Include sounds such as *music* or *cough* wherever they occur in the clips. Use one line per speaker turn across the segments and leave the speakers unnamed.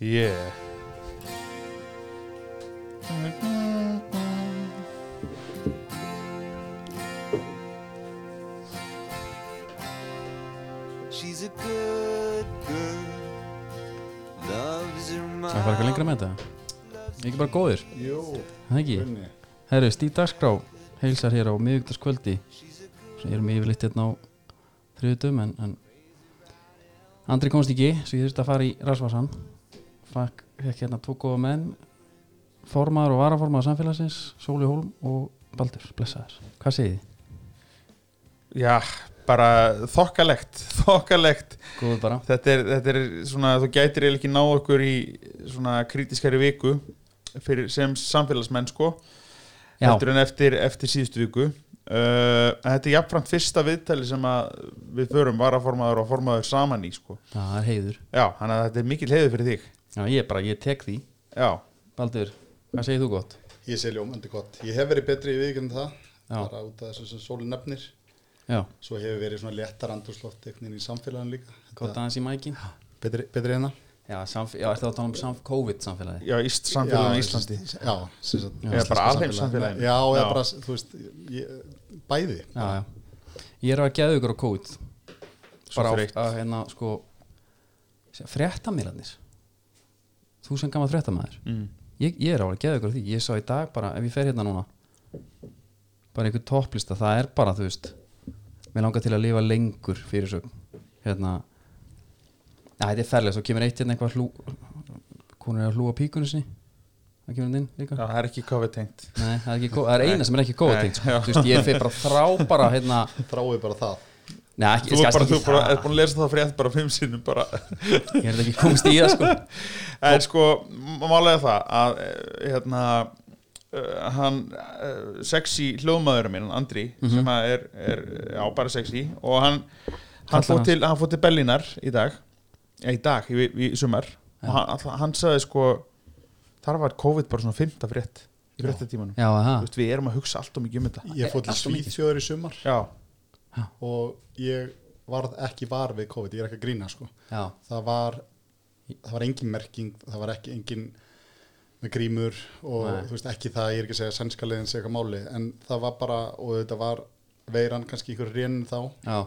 Yeah
She's a good girl Loves her mom
Það fara eitthvað lengra með þetta Ekki bara góðir,
Jú,
það ekki
brunni
Herru, Stíf Dagskrá heilsar hér á miðvíktarskvöldi sem erum yfirleitt hérna á þriðutum en, en Andri komst ekki svo ég þurfti að fara í rasvarsan Fakk, fekk hérna tvo góða menn formaður og varaformaður samfélagsins Sóli Hólm og Baldur, blessaður Hvað segið þið?
Já, bara þokkalegt *laughs* Þokkalegt
Góðu bara
þetta er, þetta er svona, þú gætir eiginlega ekki ná okkur í svona krítiskari viku fyrir, sem samfélagsmenn sko
Já,
heldur en eftir, eftir síðustu viku uh, en þetta er jafnframt fyrsta viðtali sem að við förum varaformaður og formaður saman í sko
það er heiður
já, hann að þetta er mikil heiður fyrir þig
Já, ég bara, ég tek því
já,
Baldur, hvað segið þú gott?
Ég sé ljómandi gott. Ég hef verið betri í viðkjönd það,
Já.
bara út af þessu sem sóli nefnir.
Já,
Svo hefur verið svona léttar andurslótt eitthvað í samfélaginu líka.
gott aðeins í mækin
Betri, betri hérna.
Já, samf- já ertu að tala um samf- COVID-samfélagi
já íst samfélagum í
Já,
Íslandi
Já, sem sagt.
Já.
eða bara alheim
samfélaginu.
samfélaginu
Já, eða bara, þú veist, ég, bæði.
já, já. ég er að geða ykkur á kóð
Svo
bara á,
þreytt.
að hérna sko fréttamýlarnir þú sem gaman fréttamæður
mm.
ég, ég er á að geða ykkur á því, ég sá í dag bara ef ég fer hérna núna bara einhver topplista, það er bara þú veist mér langar til að lifa lengur fyrir svo hérna ja, þetta er ferlega, svo kemur eitt hérna eitthvað hlú konur er að hlúa píkunni sinni það kemur hann inn líka
já, það er ekki COVID tengt
Nei, það er, ekki góð, það er eina sem er ekki góð
Nei,
tengt, sko. Þú veist, ég fer bara þrá bara hérna,
Þráið bara það.
Nei, ekki,
þú
ég
er
skal
bara, þú
ekki
bara,
það
er búin að lesa það frétt bara fimm sinnum bara
Ég er ekki komst í það sko
En sko, m- málega það að eh, hérna eh, hann eh, sexy hljóðmaðurinn minn, Andri
Mhm.
sem að er, er, já, bara sexy og hann, hann,
Kallar
fór
hans.
til, hann fór til Berlínar í dag eh, í dag, í, í sumar og hann, all- hann sagði sko þar var COVID bara svona fymta frétt í fréttatímanum,
Já,
Þú
það
veist, við erum að hugsa allt og mikið um þetta
Ég fór til
Allt of mikið.
Svíþjóður í sumar
já,
og ég varð ekki var við COVID. Ég er ekki að grína, sko.
Já,
það var það var engin merking, það var ekki engin með grímur og
Nei.
þú veist ekki það, ég er ekki að segja sænska leiðin segja eitthvað máli, en það var bara og þetta var veiran kannski ykkur reynum þá,
já,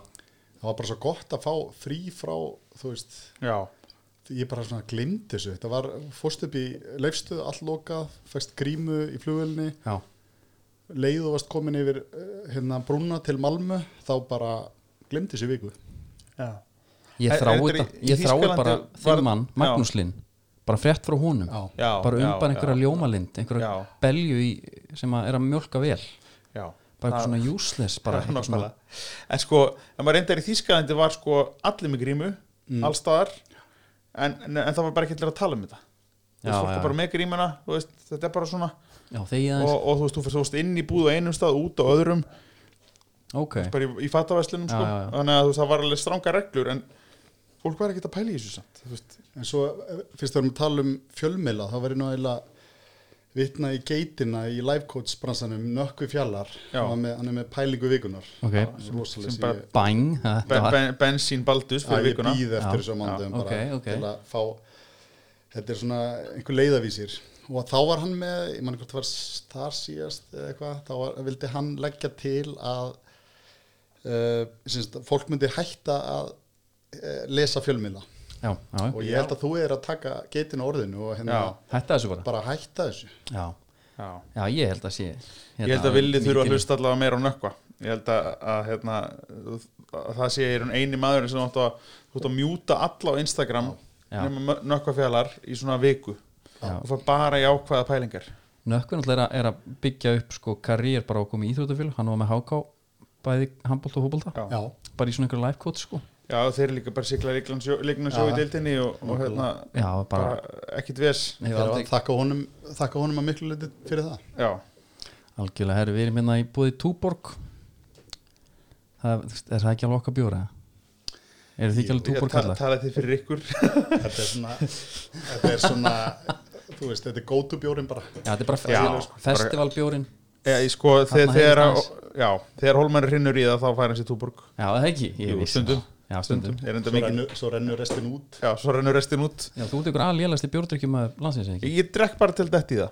það var bara svo gott að fá frí frá, þú veist
já,
ég bara svona glimt þessu, þetta var fórst upp í leifstuð, allt lokað fæst grímu í flugvelni
já
leið og varst komin yfir eh, hérna brúna til Malmö, þá bara glimt þessu viku
já. Er-
Ég
er
þrái
þetta í-
þetta,
í
ég þrái
Þýskalandi
bara
var-
þinn mann,
Já.
Magnús Linn bara frétt frá honum
Já.
Já,
bara
já,
umban einhverja
já.
ljómalind einhverja
Já.
belju í, sem að er að mjólka vel
já.
bara eitthvað
Það-
svona
*laughs*
useless bara
Já,
sko. eitthvað svona,
nákvæmlega. en sko, en maður reyndar í Þýskalandi var sko allir með grímu,
Mm.
allstaðar en, en, en það var bara ekki allir að tala um þetta þú
Já,
veist, fólk
já.
er bara með grímuna þú veist, þetta er bara svona og,
já, þegi aðeins,
og þú veist, þú fyrst, þú veist inn í búð á einum stað út á öðrum,
ok
bara í, í fatavæslinum
Já,
sko.
já, já.
þannig að þú veist, það var alveg stranga reglur en fólk var ekki að pæla í þessu samt þú veist,
En svo, eh, fyrst við erum að tala um fjölmiðla, þá verður nú eiginlega vitna í geitina í livecoach bransanum Nökkvi Fjallar,
Já.
hann, var með, hann er með pælingu vikunar.
Ok.
Rósalega
Sem
sem
bara-
ég,
Bang, þetta
ben,
var
ben, Bensín Baldus
að
fyrir
ég
vikuna
býð
Já.
eftir þessu mandum bara
ok, ok.
til að fá, þetta er svona einhver leiðavísir. Og þá var hann með, ég mann hvort það var þar síðast eða eitthvað, þá var, vildi hann leggja til að uh, syns, fólk myndi hætta að uh, lesa fjölmiðla.
Já, já,
Og ég held að þú er að taka geitina á orðinu og hérna...
Já.
hætta þessu bara
bara hætta þessu
Já,
já.
já, ég held að sé hérna
ég held að villi þurfa að hlusta allavega meira á nökkva ég held að, að, hérna, að það sé er eini maður sem átt að, þú átt að mjúta alla á Instagram
Já.
nema nökkva fjallar í svona viku
Já.
og fara bara í ákvaða pælingar
Nökkun alltaf er, að- er að byggja upp sko karriér bara á komið í Íþrótafélag hann var með HK bæði handbólt og hóbólta
já.
já,
bara í svona einhverja life coach sko
Já, þeir líka bara sigla líkna sjó í
Já.
deildinni og, og hérna,
Já, bara,
bara ekkit ves
Ég
ég
hef
var
aldrei,
að þakka honum, þakka honum að miklu leiti fyrir það
já,
algjörlega herri, við erum hérna í búið Túborg það, er það ekki alveg okkar bjóra? eru þið ekki alveg
ég
um Túborg
ta
kallar?
tala þið fyrir ykkur *laughs*
þetta er svona, þetta er svona þú veist, þetta er gótu bjórin bara
Já, þetta er bara
Já,
já, festivalbjórin
Já, ég sko, þegar,
Þarna
þegar,
heyrist
að- já, þegar hólmenn rinnur í það þá fær hans í túborg
Já, það er ekki, ég
Jú,
vissi
stundum.
það. Já, stundum.
er enda
svo,
mikið
rennu, svo rennur restin út
já, svo rennur restin út
Já, þú ert ykkur aðlélasti bjórdrykkjum að landsins eða ekki?
ég, ég drekk bara til dætt í það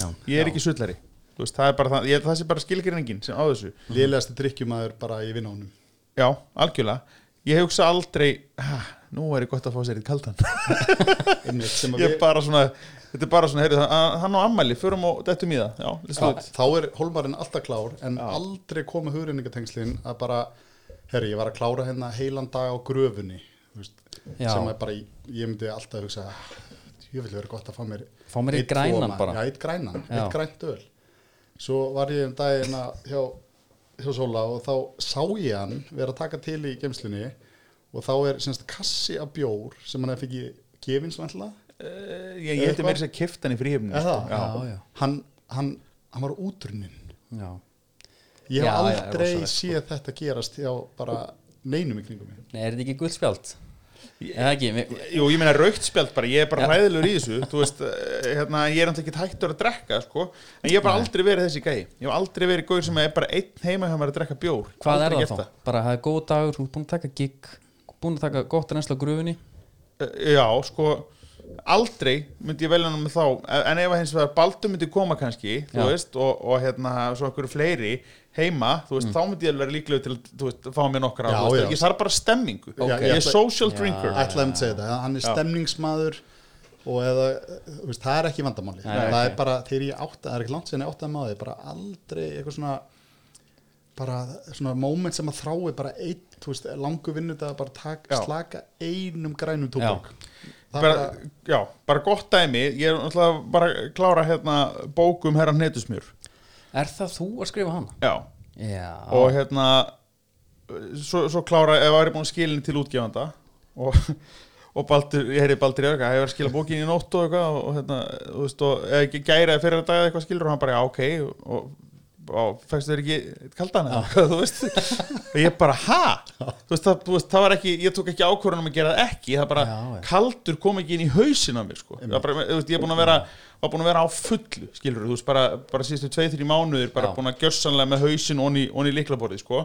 Já,
ég er ekki sullari Þú veist, það er bara það, ég, það sé bara skilgreiningin sem á þessu
lélegasti drikkjumæður bara í *laughs* vinnónum
já, algjörlega, ég hugsa aldrei "Ha, nú er ég gott að fá sér eitt kaldan *laughs*
Einmitt, sem að
ég er
við-
bara svona, þetta er bara svona heyri, hann á ammæli, förum og dættum í það já, let's do
Já,
it
þá er hólmarinn alltaf klár en aldrei koma hugreiningatengslin að bara, herri, ég var að klára hérna heilan dag á gröfunni þú veist,
Já.
sem er bara, í- ég myndi alltaf hugsa ég vil vera gott að fá mér
Fá mér einn
einn
grænan
svona-
bara.
já, eitt grænan,
Já.
eitt grænt öl svo var ég um daginn að hjá, hjá Sóla og þá sá ég hann vera að taka til í gemslunni og þá er semst kassi af bjór sem hann hefði fengið gefins vantlega
Eh, ég, ég heldur mér þess að kifta hann í fríhefni
Er
já.
það?
já, já.
hann, hann, hann var útrunnin
já.
Ég hef
Já, já,
aldrei
rosalegt, sko.
séð þetta gerast hjá bara neinum í kringum mig.
Nei, er þetta ekki guldspjald? Eða ekki, mér,
Jú, ég meina raukt spjald bara, ég er bara
Já.
hræðilegur í þessu þú veist, eh, hérna, ég er náttúrulega ekki hættur að drekka sko, en ég hef bara aldrei verið þessi gæi ég hef aldrei verið gauður sem er bara einn heima hjá mér að drekka bjór
hvað
Aldrei
er það
gert
þá? Bara það er góð dagur, þú er búin að taka gig búin að taka gott reynsla á gröfunni
Eh, Já, sko aldrei myndi ég velja hann með þá en ef að hins vegar Baldur myndi koma kannski þú
Já.
veist, og, og hérna svo einhverju fleiri heima, þú veist, þá myndi ég vera líklega til að þú veist, fá mér nokkra
Já,
þú veist,
já.
ég þarf bara stemmingu,
Já,
ég
ég
er
ætla-
social drinker
Ætlaðum að segja þetta, hann er stemningsmaður og eða, þú veist, það er ekki vandamáli.
Nei,
það
nei,
er bara, þegar ég átta, það er ekki langt sinni áttaði maður, bara aldrei eitthvað svona, bara svona moment sem að þrái bara einn, þú veist, langu vinnudag, bara tak,
Já.
slaka einum grænum tóbak. Það er
bara,
bara,
já, bara gott dæmi ég er náttúrulega bara að klára hérna bókum herra hnetusmjör
Er það þú að skrifa hana?
já,
Já,
og hérna svo, svo klára, ef það er búin skilin til útgefanda og, og Baldur, ég heyri Baldur í öka, ég var að skila bókin í nótt og eitthvað og hérna, þú veist, og eða ekki gæra fyrir að daga eitthvað skilur og hann bara, já, ok og, og fækstu þér ekki kaldan eða, eitthvað, þú veist og ég bara, ha? Þú veist, það, þú veist, það var ekki, ég tók ekki ákvörðan um að gera það ekki, það bara,
Já, já.
kaldur kom ekki inn í hausin á mér, sko Það bara, þú veist, ég er búin að vera, var búin að vera á fullu skilur, þú veist, bara, bara síðustu tveið, þrjú mánuðir bara
Já.
búin að gjörsanlega með hausin onni, onni líklaborði, sko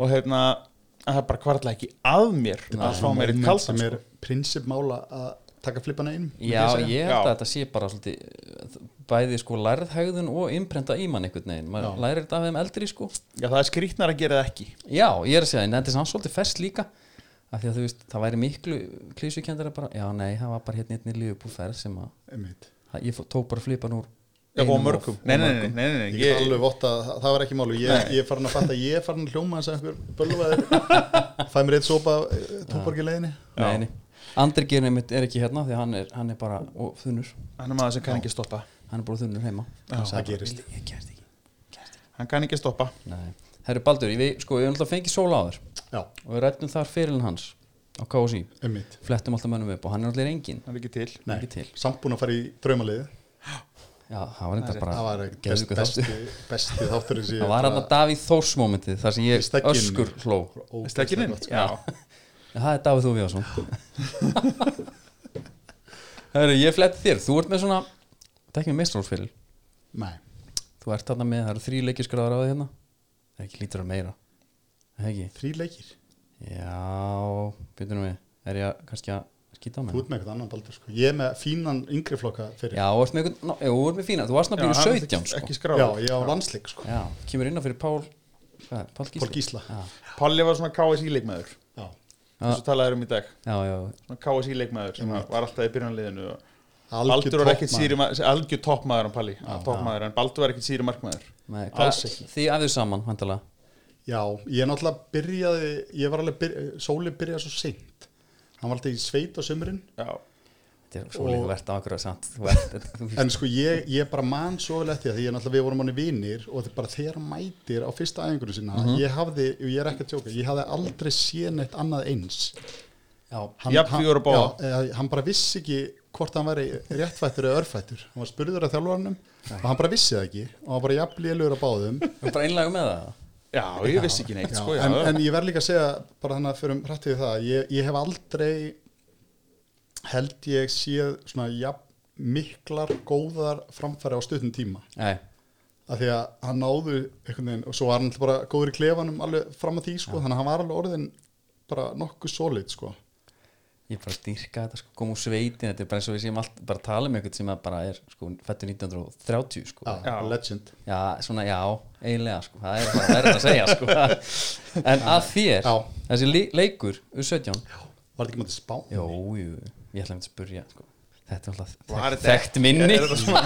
og hérna, að það bara hvarla ekki að mér að fá mér eitt
moment
kaldan,
sem er
sko
prinsipmála að taka flippana einum.
Já,
myndi segja.
ég held
Já.
að þetta sé bara svolítið, bæði sko lærðhægðun og innprenta í mann einhvern veginn maður lærir þetta af þeim eldri sko
Já, það er skrýtnar að gera það ekki
Já, ég er að segja, en þetta er samt svolítið fest líka af því að þú veist, það væri miklu klísukendara bara, já nei, það var bara hérna einnig lífubúferð sem að
Einmitt.
það- ég fó- tók bara flipan úr
Já, og
einum
mörgum,
of-
nei,
og
nei, nei,
mörgum.
nei, nei, nei.
Ég
Ég,
get alveg vott að það það var ekki málu ég, ég er farin að fatta, ég er farin að hljóma þess að einhver bölvaður fæ mér eitt sopa tóparki leiðinni
Nei, nei. Andri Geir einmitt er ekki hérna því að hann er, hann er bara og þunnur
hann er maður sem kann ekki stoppa
hann er bara þunnur heima Hann sagði
það
bara,
gerist.
"Ég- ég gerist ekki, gerist ekki.
hann kann ekki stoppa
Nei. Herru Baldur, ég, við- sko, ég er alltaf fengið sóla á þér
Já,
og við rættum þar fyrirlin hans á KSI,
einmitt
flettum alltaf mönnum upp og hann er alltaf engin
hann er ekki til
Nei,
Ekki til.
samt búin að fara í draumaliði
Já, það var þetta
það var
bara
ekkert best,
geðveikur
besti,
þáttur.
besti þáttur
Það var hann að Davíð Þórs momentið þar sem ég
Í stegginu.
öskur hló
Stekkininn? Já,
En Það er Davíð Þóviðarsson *laughs* Herru, ég fletti þér Þú ert með svona, þetta er ekki með meistrófsfyril
Nei,
Þú ert þarna með, það eru þrý leikiskraðar á þig hérna Það er ekki lítur að meira Það er ekki,
þrý leikir
já, byrjum við Er ég að, kannski að skýta á mig
Þú ert með eitthvað annan baldur sko. Ég er með fínan yngri flokka fyrir
Já, þú ert með, einhvern- ná, já, þú ert með fína Þú varst
Já,
náttúrulega
hann er
byrjun 17
ekki-
sko.
ekki skráður
ég á landsleik sko.
Já, kemur inn á fyrir Pál Hvað er, Pál Gísla?
Pól Gísla.
Já,
Palli var svona KSI-leikmaður
Já.
eins og talaður um í dag
já, já,
svona KSI-leikmaður sem var alltaf í byrjanliðinu og
Algjör
Baldur var ekkert
toppmaður.
síri algjör toppmaður en Palli toppmaður en Baldur var ekkert síri markmaður
Nei,
Alls
hvað, þið æfðu saman, handala
Já, ég náttúrulega byrjaði ég var alveg, byrja, Sóli byrjaði svo seint Hann var alltaf í sveit á sömurinn
já,
Þetta er svo líka
Og-
verðt á akkur að sant Þú ert, þetta- þú
En sko ég, ég bara man svo vel eftir því að því ég náttúrulega við vorum hann vinnir og þetta bara þegar hann mætir á fyrsta æfingunum sinna
Mhm.
ég hafði, og ég er ekki að tjóka, ég hafði aldrei séð neitt annað eins
Já,
Jafnvígur og báða.
já, eh, hann bara vissi ekki hvort hann væri réttfættur eða örfættur hann var spurður af þjálfarnum og hann bara vissi það ekki og hann bara jafnlélur á báðum
þú er bara einlega með það
já, ég vissi ekki neitt sko, *laughs* já,
en, en ég verð líka að segja bara þannig að fyrir um hrættið það að ég, ég hef aldrei held ég séð svona jafn miklar góðar framfæri á stutnum tíma
Nei,
af því að hann náðu einhvern veginn og svo var hann bara góður í klefanum alveg fram að því sko, þannig að hann var alveg orðin bara nokkuð solid sko.
Ég er bara að styrka þetta sko, koma úr sveitin Þetta er bara eins og við séum allt, bara að tala um eitthvað sem að bara er sko, fættu 1930 sko
já, legend
Já, svona já, eiginlega sko, það er bara verið að segja sko En að þér,
Já.
þessi le- leikur, U17
Var þetta ekki maður spán?
Jó, jú, ég ætla að spyrja sko. Þetta er
Var
alltaf
þetta-
þekkt minni
Er þetta svona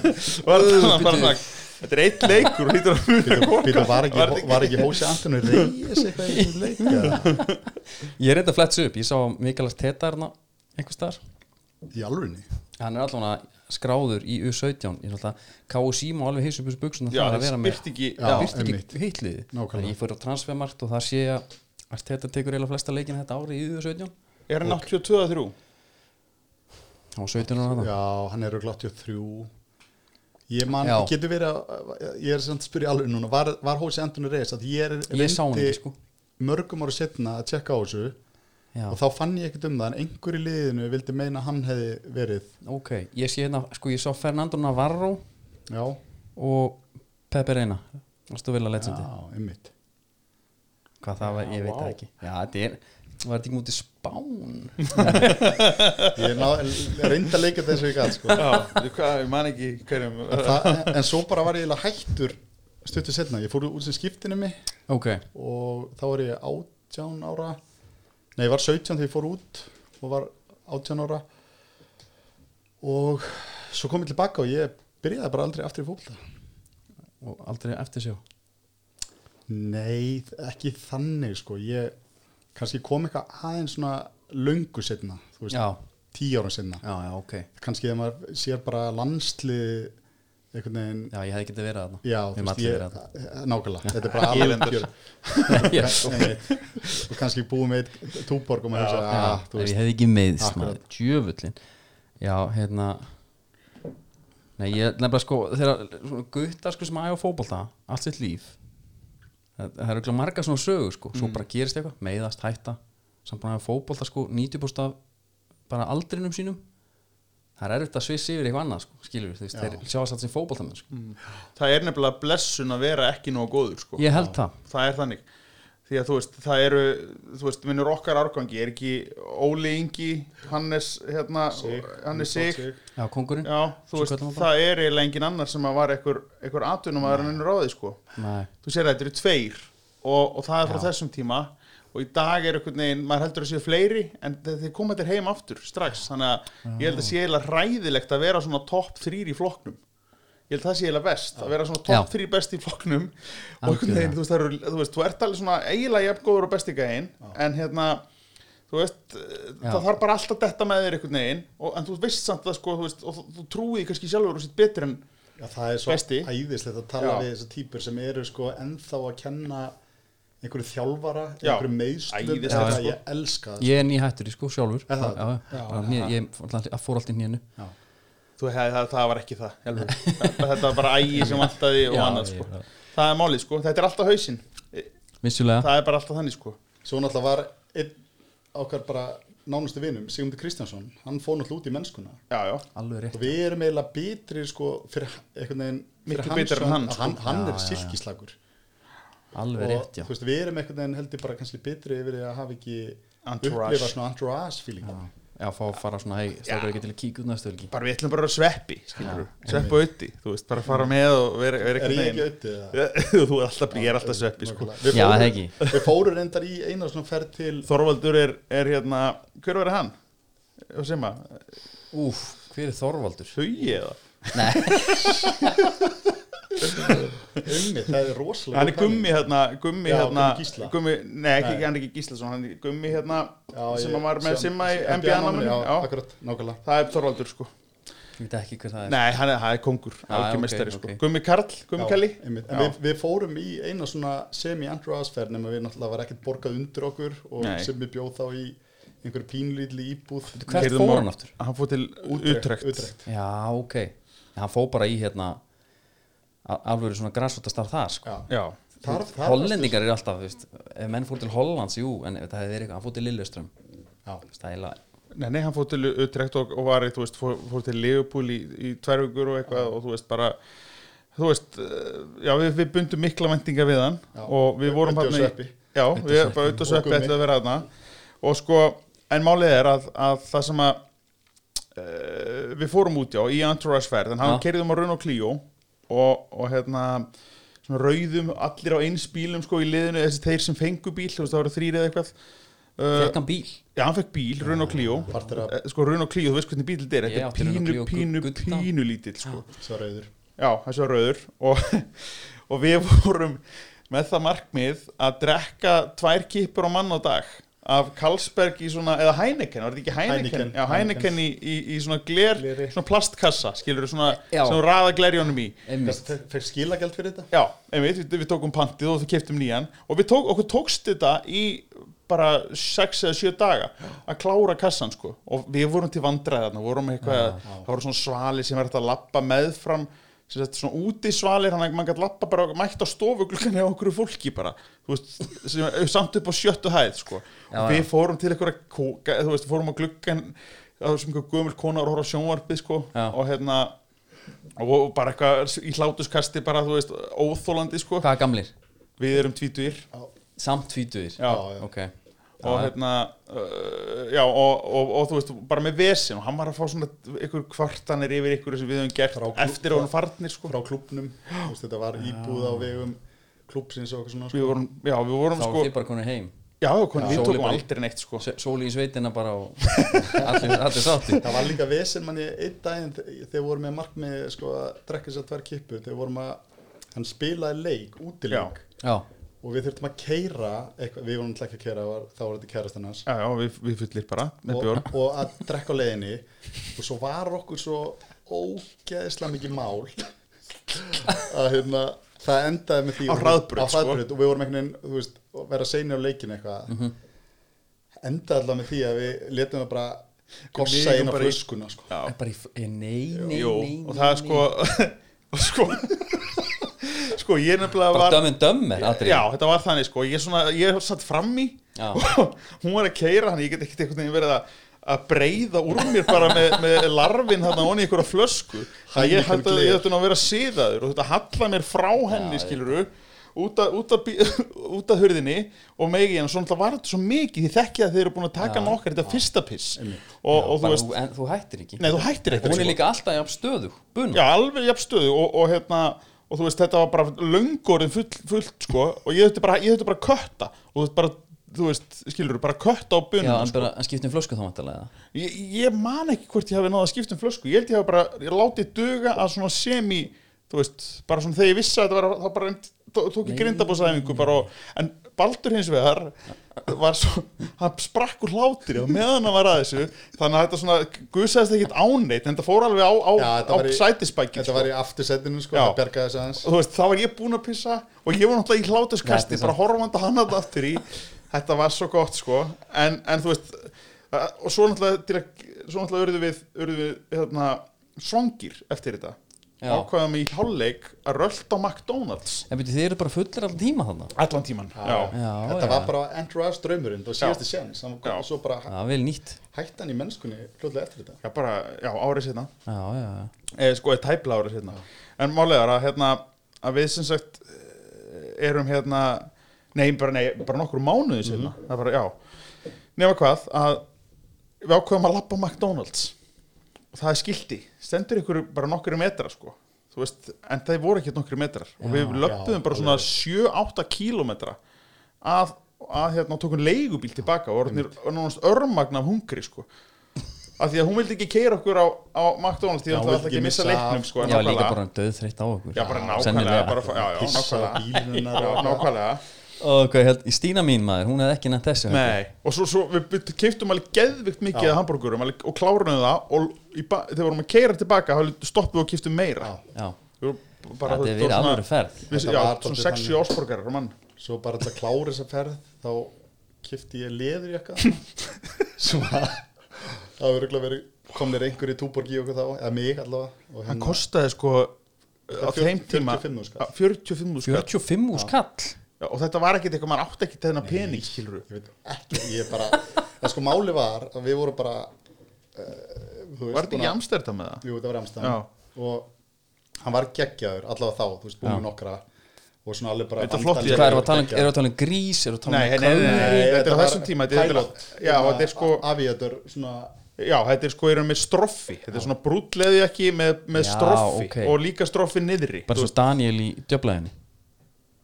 Var þetta svona *laughs* bara svona Þetta er eitt leikur og hýttur að mjög
Býtum, var
Var
ekki,
þetta
var ekki Hósi Antonu reyðis eitthvað í þessum leik? eða?
Ég er eitthvað fletts upp, ég sá Mikalars Tetarna einhvers staðar
Í alvörinni?
Hann er allan skráður í U17 Ég er alltaf K.O.C. má alveg heysa upp þessu buksuna
Já,
Það að
það
vera með
spyrt ekki
Já,
Það virti
einmitt.
ekki hitliði
Nákvæmlega.
Ég fór á transfermarkt og það sé að Arteta tekur eiginlega flesta leikin þetta ári í U17
Er hann 82 að 3?
Á 17 ára þarna
Já, hann er auðvitað 83 Ég man,
Já.
getur verið að ég er samt að spyrja alveg núna, var, var Hósi Antoni Reis að ég er
Ég sá hann
reyndi
ekki, sko.
mörgum ára setna að tjekka á þessu
Já,
og þá fann ég ekkert um það en einhver í liðinu vildi meina að hann hefði verið
ok Ég sé hérna, sko ég sá Fernando Navarro
já,
og Pepe Reina Vastu vel að
já,
leggja
einmitt
Hvað það var, ég veit það ekki Já, þetta er Var þetta ekki mútið spán?
ég ná, reynda að leika þessu í gæt sko.
Já, ég- hvað, ég man ekki hverjum
en, það- en svo bara var ég eiginlega hættur stuttu setna, ég fór út sem skiptinu mig
Ok,
og þá var ég 18 ára nei, ég var 17 þegar ég fór út og var 18 ára og svo kom ég tilbaka og ég byrjaði bara aldrei aftur í fólta
og aldrei eftir sjá
nei, ekki þannig sko, ég kannski kom eitthvað aðeins svona löngu setna, þú veist,
Já.
tíu ára setna
Já, já, ok
kannski þegar maður sér bara landsli einhvern veginn
Já, ég hefði getið verið þarna
já,
Við maður
ég, eh,
verið þarna
nákvæmlega, þetta er
*laughs*
bara alveg
Já,
og kannski búið með eitt túborg og maður hugsa,
Já,
ah,
ef
þú
ég
veist
hefði ekki meðst
Akkurat.
maður, djöfullin já, hérna nei, ég nefnilega sko þegar svona guttar sko sem aðja á fótbolta allt sitt líf það, það eru ekki marga svona sögur sko
Mm.
svo bara gerist eitthvað, meiðast, hætta samt bara að fótbolta sko, 90% af bara aldrinum sínum það er erfitt að svissi yfir eitthvað annað sko, skilur við, þeir sjáast allt sem fótboltamenn sko.
Mm.
Það er nefnilega blessun að vera ekki nóg góður sko.
ég held það
það er þannig því að þú veist, það eru þú veist, minnur okkar árgangi, er ekki Óli Ingi, Hannes hérna, Hannes Sig
já, kongurinn,
já, þú
Svo
veist,
kallar maður
það er eiginlega engin annar sem að var einhver, einhver atunum að hann ennur á því sko
nei,
þú sér að þetta eru tveir og, og það er frá þessum tíma og í dag er einhvern veginn, maður heldur að séu fleiri en þe- þeir koma þér heim aftur strax þannig að ég held að sé eiginlega ræðilegt að vera svona topp þrýr í flokknum ég held að það sé eiginlega best, að vera svona topp
Já.
þrýr best í flokknum og einhvern
Algjörlega.
veginn, þú veist, það eru, þú veist, þú ert alveg svona eiginlega jafn góður og besti gæinn en hérna, þú veist
Já.
það þarf bara alltaf detta með þér einhvern veginn og, en þú veist samt það sko, þú veist, og þú, þú trúið kannski sjálfur og sitt betur en
Já, það er svo
Besti.
æðislegt að tala
Já.
við þessar týpur sem eru sko ennþá að kenna einhverju þjálfara,
Já.
einhverju meðslum
Æðislegt,
það
sko.
ég elska það
ég er nýhættur í sko sjálfur
Er það?
já, já, bara hné- ég, ég fór allt í nýjanu
Já.
Þú, það, það, það var ekki það í alvöru. þetta þetta var bara ægi sem vantaði og
Já,
annað
ég-
sko. það er málið sko, þetta er alltaf hausinn
vissulega
það er bara alltaf þannig sko
Svo náttúrulega var einn okkar bara nánustu vinum, Sigmundur Kristjánsson hann fór náttúrulega út í mennskuna
já, já,
alveg rétt
og við erum eiginlega bitri sko fyrir einhvern veginn
Miklu
fyrir hans
betri en
hönd
hann,
að
sko.
hann, hann
Já,
er
já, já.
silkislagur
Alveg
og
rétt, já.
þú veist, við erum einhvern veginn heldur bara kannski bitri yfir því að hafa ekki
Entourage.
upplifað svona entourage feeling
Já, fá að fara svona, hei, stakar ekki til að kíkja út næstu helgi.
bara við ætlum bara að sveppi skilurðu. sveppi og utti, þú veist, bara fara með og vera, vera
er ég ekki
einhvern
auðvitað?
veginn *laughs* þú er alltaf, ég er alltaf sveppi sko.
Nákvæmlega.
Já,
Við fórum-
það ekki.
Við fórum reyndar í eina svona ferð til
*laughs* Þorvaldur er, er hérna hver verður hann? og sem að,
Úf, hver er Þorvaldur?
hugi eða
Nei,
Gummi, það er rosalega
hann er
góð pæling.
gummi hérna, gummi
Já,
hérna
Gummi Gísla.
gummi, nei, ekki,
Nei.
hann er ekki Gíslason hann er gummi hérna,
Já,
sem
ég-
að var með
sem-
Simma í
sem-
NBA-náminu
Já,
það
akkurat, nákvæmlega
er Þorvaldur sko
ég veit ekki hver það er.
Nei, hann er, hann er kongur,
Já,
algjör
ok,
meistari sko.
ok.
Gummi Karl, Gummi Kelly
Já, einmitt. En við, við fórum í eina svona semi-androasferð nema við náttúrulega var ekkert borgað undir okkur og
Nei.
sem við bjóð þá í einhverju pínlýdli íbúð
Hvert
Keyrðum á-
fór hann aftur?
Hann fór til Utrecht,
Utrekt.
Já, ok. Hann fór bara í hérna, a- alveg svona græsvotastar þar, sko.
Já.
Já,
Þar, þar
Hollendingar eru alltaf, þú veist, ef menn fór til Hollands, jú, en það hefði verið eitthvað, hann fór til Lilleström.
Já.
Stæla,
nei, nei, hann fór til Utrecht og, og var, í, þú veist, fór, fór til Liverpool í, í tvær vikur og eitthvað og þú veist bara Þú veist, eh, já, við, við bundum mikla vendinga við hann
Já.
og við vorum
Bundum
hann í
sveppi.
já,
Udd og
við
Sveppi.
bara auðvitað
Og
sveppi
Gummi.
ætlum að vera þarna og sko, en málið er að, að það sem að e, við fórum út já í Entourage ferð, en hann
Já.
keirðum á Run og Clio og, og hérna svona rauðum allir á eins bílum sko í liðinu, þessi þeir sem fengu bíl þú veist, það voru þrýri eða eitthvað
Eh.
uh,
Fekkan bíl
já, hann fekk bíl, Run og Clio
Partur af-
Eh, sko Run og Clio, þú veist hvernig bíl þetta er
Ég
þetta er
átti Renault Clio
pínu, pínu,
gudda.
pínu lítill sko.
svo rauður
Já, þessi var rauður og, *laughs* og við vorum með það markmið að drekka tvær kipur á mann á dag af Carlsberg í svona, eða Heineken, var þetta ekki Heineken?
Heineken.
Já, Heineken í, í, í svona gler,
Gleri.
svona plastkassa, skilur svona,
Já.
svona raða glerjónum í.
einmitt
Fekk- fekk skilagjald fyrir þetta
Já, einmitt, við, við tókum pantið og þú keftum nýjan og við tók, okkur tókst þetta í bara 6 eða 7 daga að klára kassan sko og við vorum til vandræðarna, vorum með eitthvað það voru svona svali sem er hægt að lappa meðfram sem sagt svona úti svalir hann að mann gætt lappa bara mætt á stofugluggan hjá okkur fólki bara, þú veist sem, er samt upp á sjöttu hæð sko
Já,
og við
já.
fórum til eitthvað kóka, þú veist, fórum á gluggan það var sem eitthvað gömul konar að horfa á sjónvarpið sko
Já.
og hérna og og bara eitthvað í hlátuskasti bara, þú veist, óþólandi sko
Hvað er gamlir?
við erum tvítugir
Samt tvítuðir
já,
já.
Ok
og hérna uh, já, og, og, og, þú veist, bara með vesin og hann var að fá svona ykkur kvartanir yfir ykkur sem við höfum gert
Frá klú-
eftir á hann farnir sko
frá klubnum, Þú veist, þetta var íbúð á vegum klubsins og eitthvað svona
við
sko.
vorum, já, við vorum
Þá
sko
er þið bara konur heim
já, kon,
Já.
við
Sóli
tókum
bara í-
aldrei neitt sko
S- Sóli í sveitina bara og *laughs* allir, allir sátti
það var líka vesen manni einn daginn þe- þegar við vorum með markmið sko, að drekka sér tvær kippu þegar við vorum að hann spilaði leik, útileik
Já
og við þurftum að keira eitthvað, við vorum náttúrulega ekki að keira var, þá var þetta kærastan hans
já, já, við, við fullir bara með
og,
björn
og að drekka á leiðinni og svo var okkur svo ógeðislega mikið mál að hérna það endaði með því
Á hraðbraut, sko.
á hraðbraut og við vorum einhvern veginn þú veist, að vera seinir á leikin eitthvað
Mhm.
endaði alltaf með því að við letum að bara gossa
Við
inn á
bara í-
flöskuna sko.
já,
En Bara í, f- eh, nei, nei,
jú,
nei, nei
og það er sko
nei.
og *laughs* sko sko, ég nefnilega
Bara
var
dömmen dömmer atrið
Já, þetta var þannig sko, ég, svona, ég satt fram í
Já.
*laughs* og hún var að keira hann, ég get ekkert einhvern veginn verið að, að breyða úr mér bara með, með larfin þarna onni í einhverja flösku það ég held að ég ætti nú að vera siðaður og þetta halla mér frá henni já,
Já,
skiluru út að, út, að, bí- *laughs* út að hurðinni og megi henni, svona var þetta svo mikið því þekki að þeir eru búin að taka
Já.
nokkar þetta fyrsta piss og, og þú
Bara
veist,
þú- En þú hættir ekki
nei þú hættir ekkert
Hún er
sko.
líka alltaf jafn stöðu Bun
Já, alveg jafnstöðu og, og hérna og þú veist, þetta var bara löngorinn full, fullt sko, og ég þurfti bara, ég þurfti bara að kötta og þú veist, bara, þú veist, skilur bara kötta á
Já,
bunum,
en
sko.
bara en skiptum flösku þá vantarlega
ég, ég man ekki hvort ég hafi náða að skipta um flösku, ég held ég hafi bara ég látið duga að svona semi þú veist, bara svona þegar ég vissi að þetta var þá bara einmitt tó- tók ég grindabóðsæfingu bara og, en Baldur hins vegar var svo, hann sprakk úr hlátri og meðan hann var að þessu þannig að þetta svona gusaðist ekkit áneitt en þetta fór alveg á, á,
Já,
á
þetta var í-
sætispækið
þetta var í aftursetinu sko,
Já.
það bergaði þess aðeins
og þú veist, þá var ég búinn að pissa og ég var náttúrulega í hlátuskasti,
Þetta er
bara horfandi á hann að aftur í, þetta var svo gott sko, en, en þú veist uh, og svo náttúrulega, til að, svo náttúrulega urðu við, urðu við hérna, svangir eftir þetta
Já.
ákvaðum í hálfleik að rölda á McDonalds
En byrju, þið eru bara fullir allan tíma þannig
allan tíman já, já.
Já,
þetta
já.
var bara Andrew Ross draumurinn það var síðasti séns, hann kom
Já.
og svo bara
Já, vel nýtt
hætti hann í mennskunni fljóðlega eftir þetta
bara, já, árið setna
Já, já, já
eða sko eða tæpla árið hérna en málega er að, hérna, að við sem sagt eh, erum hérna nei bara, nei, bara nokkur
Mhm.
mánuði sinna það er bara já nema hvað að við ákveðum að lappa McDonalds og það er skildi stendur ykkur bara nokkru metrar sko Þú veist, en það voru ekki nokkru metrar og
Já,
við löppuðum
já,
bara svona 7-8 kílómetra að, að hérna, og tókum leigubíl tilbaka og orðnir nánast örmagn af hungri sko af því að hún vildi ekki keira okkur á, á McDonalds því
Já,
að
hún
það
vildi
ætla ekki
ekki
að missa
missa af.
leiknum sko,
Já,
nákvæmlega.
líka bara döðþreytt á okkur
Já, bara nákvæmlega,
Sennilega.
bara, já, já,
pissa á
nákvæmlega
bílunar
Já, nákvæmlega
Ó, hvað, held- Stína mín maður, hún hefði ekki nætt þessu held ég.
Nei. og svo, svo við bytt- keyptum alveg geðvikt mikið af hambúrgurum alveg- og klárunum það og í ba- þegar við vorum að keira tilbaka þá stoppum við og keyptum meira
Já.
Já,
Við vorum bara- þetta var
þetta er verið
svona-
alvöru ferð
við-
Þetta
Já,
var
svona
dálítið
6-7 ásborgarar mann
svo bara til að klára þessa ferð þá kifti ég leðurjakka sem að það var örgulega verið komnir einhverju í túborgi og okkur þá, eða mig allavega og
hann
hérna-
kostaði sko á
Þetta er
þeim tíma
45 þúsund kall.
að 45 skall
45 úr skall
og þetta var ekkit eitthvað, maður átti ekkit þennan pening skilur
ég veit ekki, ég bara það sko máli var að við vorum bara uh, þú
var þetta
búin
ekki
að-
amstært með það?
jú, þetta var amstæðan og hann var geggjaður allavega þá, þú veist, búin
Já.
nokkra og svona alveg bara
Þetta er
andan-
flott í-
Hvað, erum við að tala um, erum við að tala um grís, erum við að tala
Nei,
um
nei, nei, nei, nei,
kálf?
nei, þetta er á
var
þessum tíma þetta er-
pilot,
Já, þetta er sko
aviator, svona
Já, þetta er sko erum með stroffi Þetta er svona brútleði ekki með, með
Já,
stroffi
ok.
og líka stroffi niðri
Bara
Þú
svo Daniel í djöflaðinni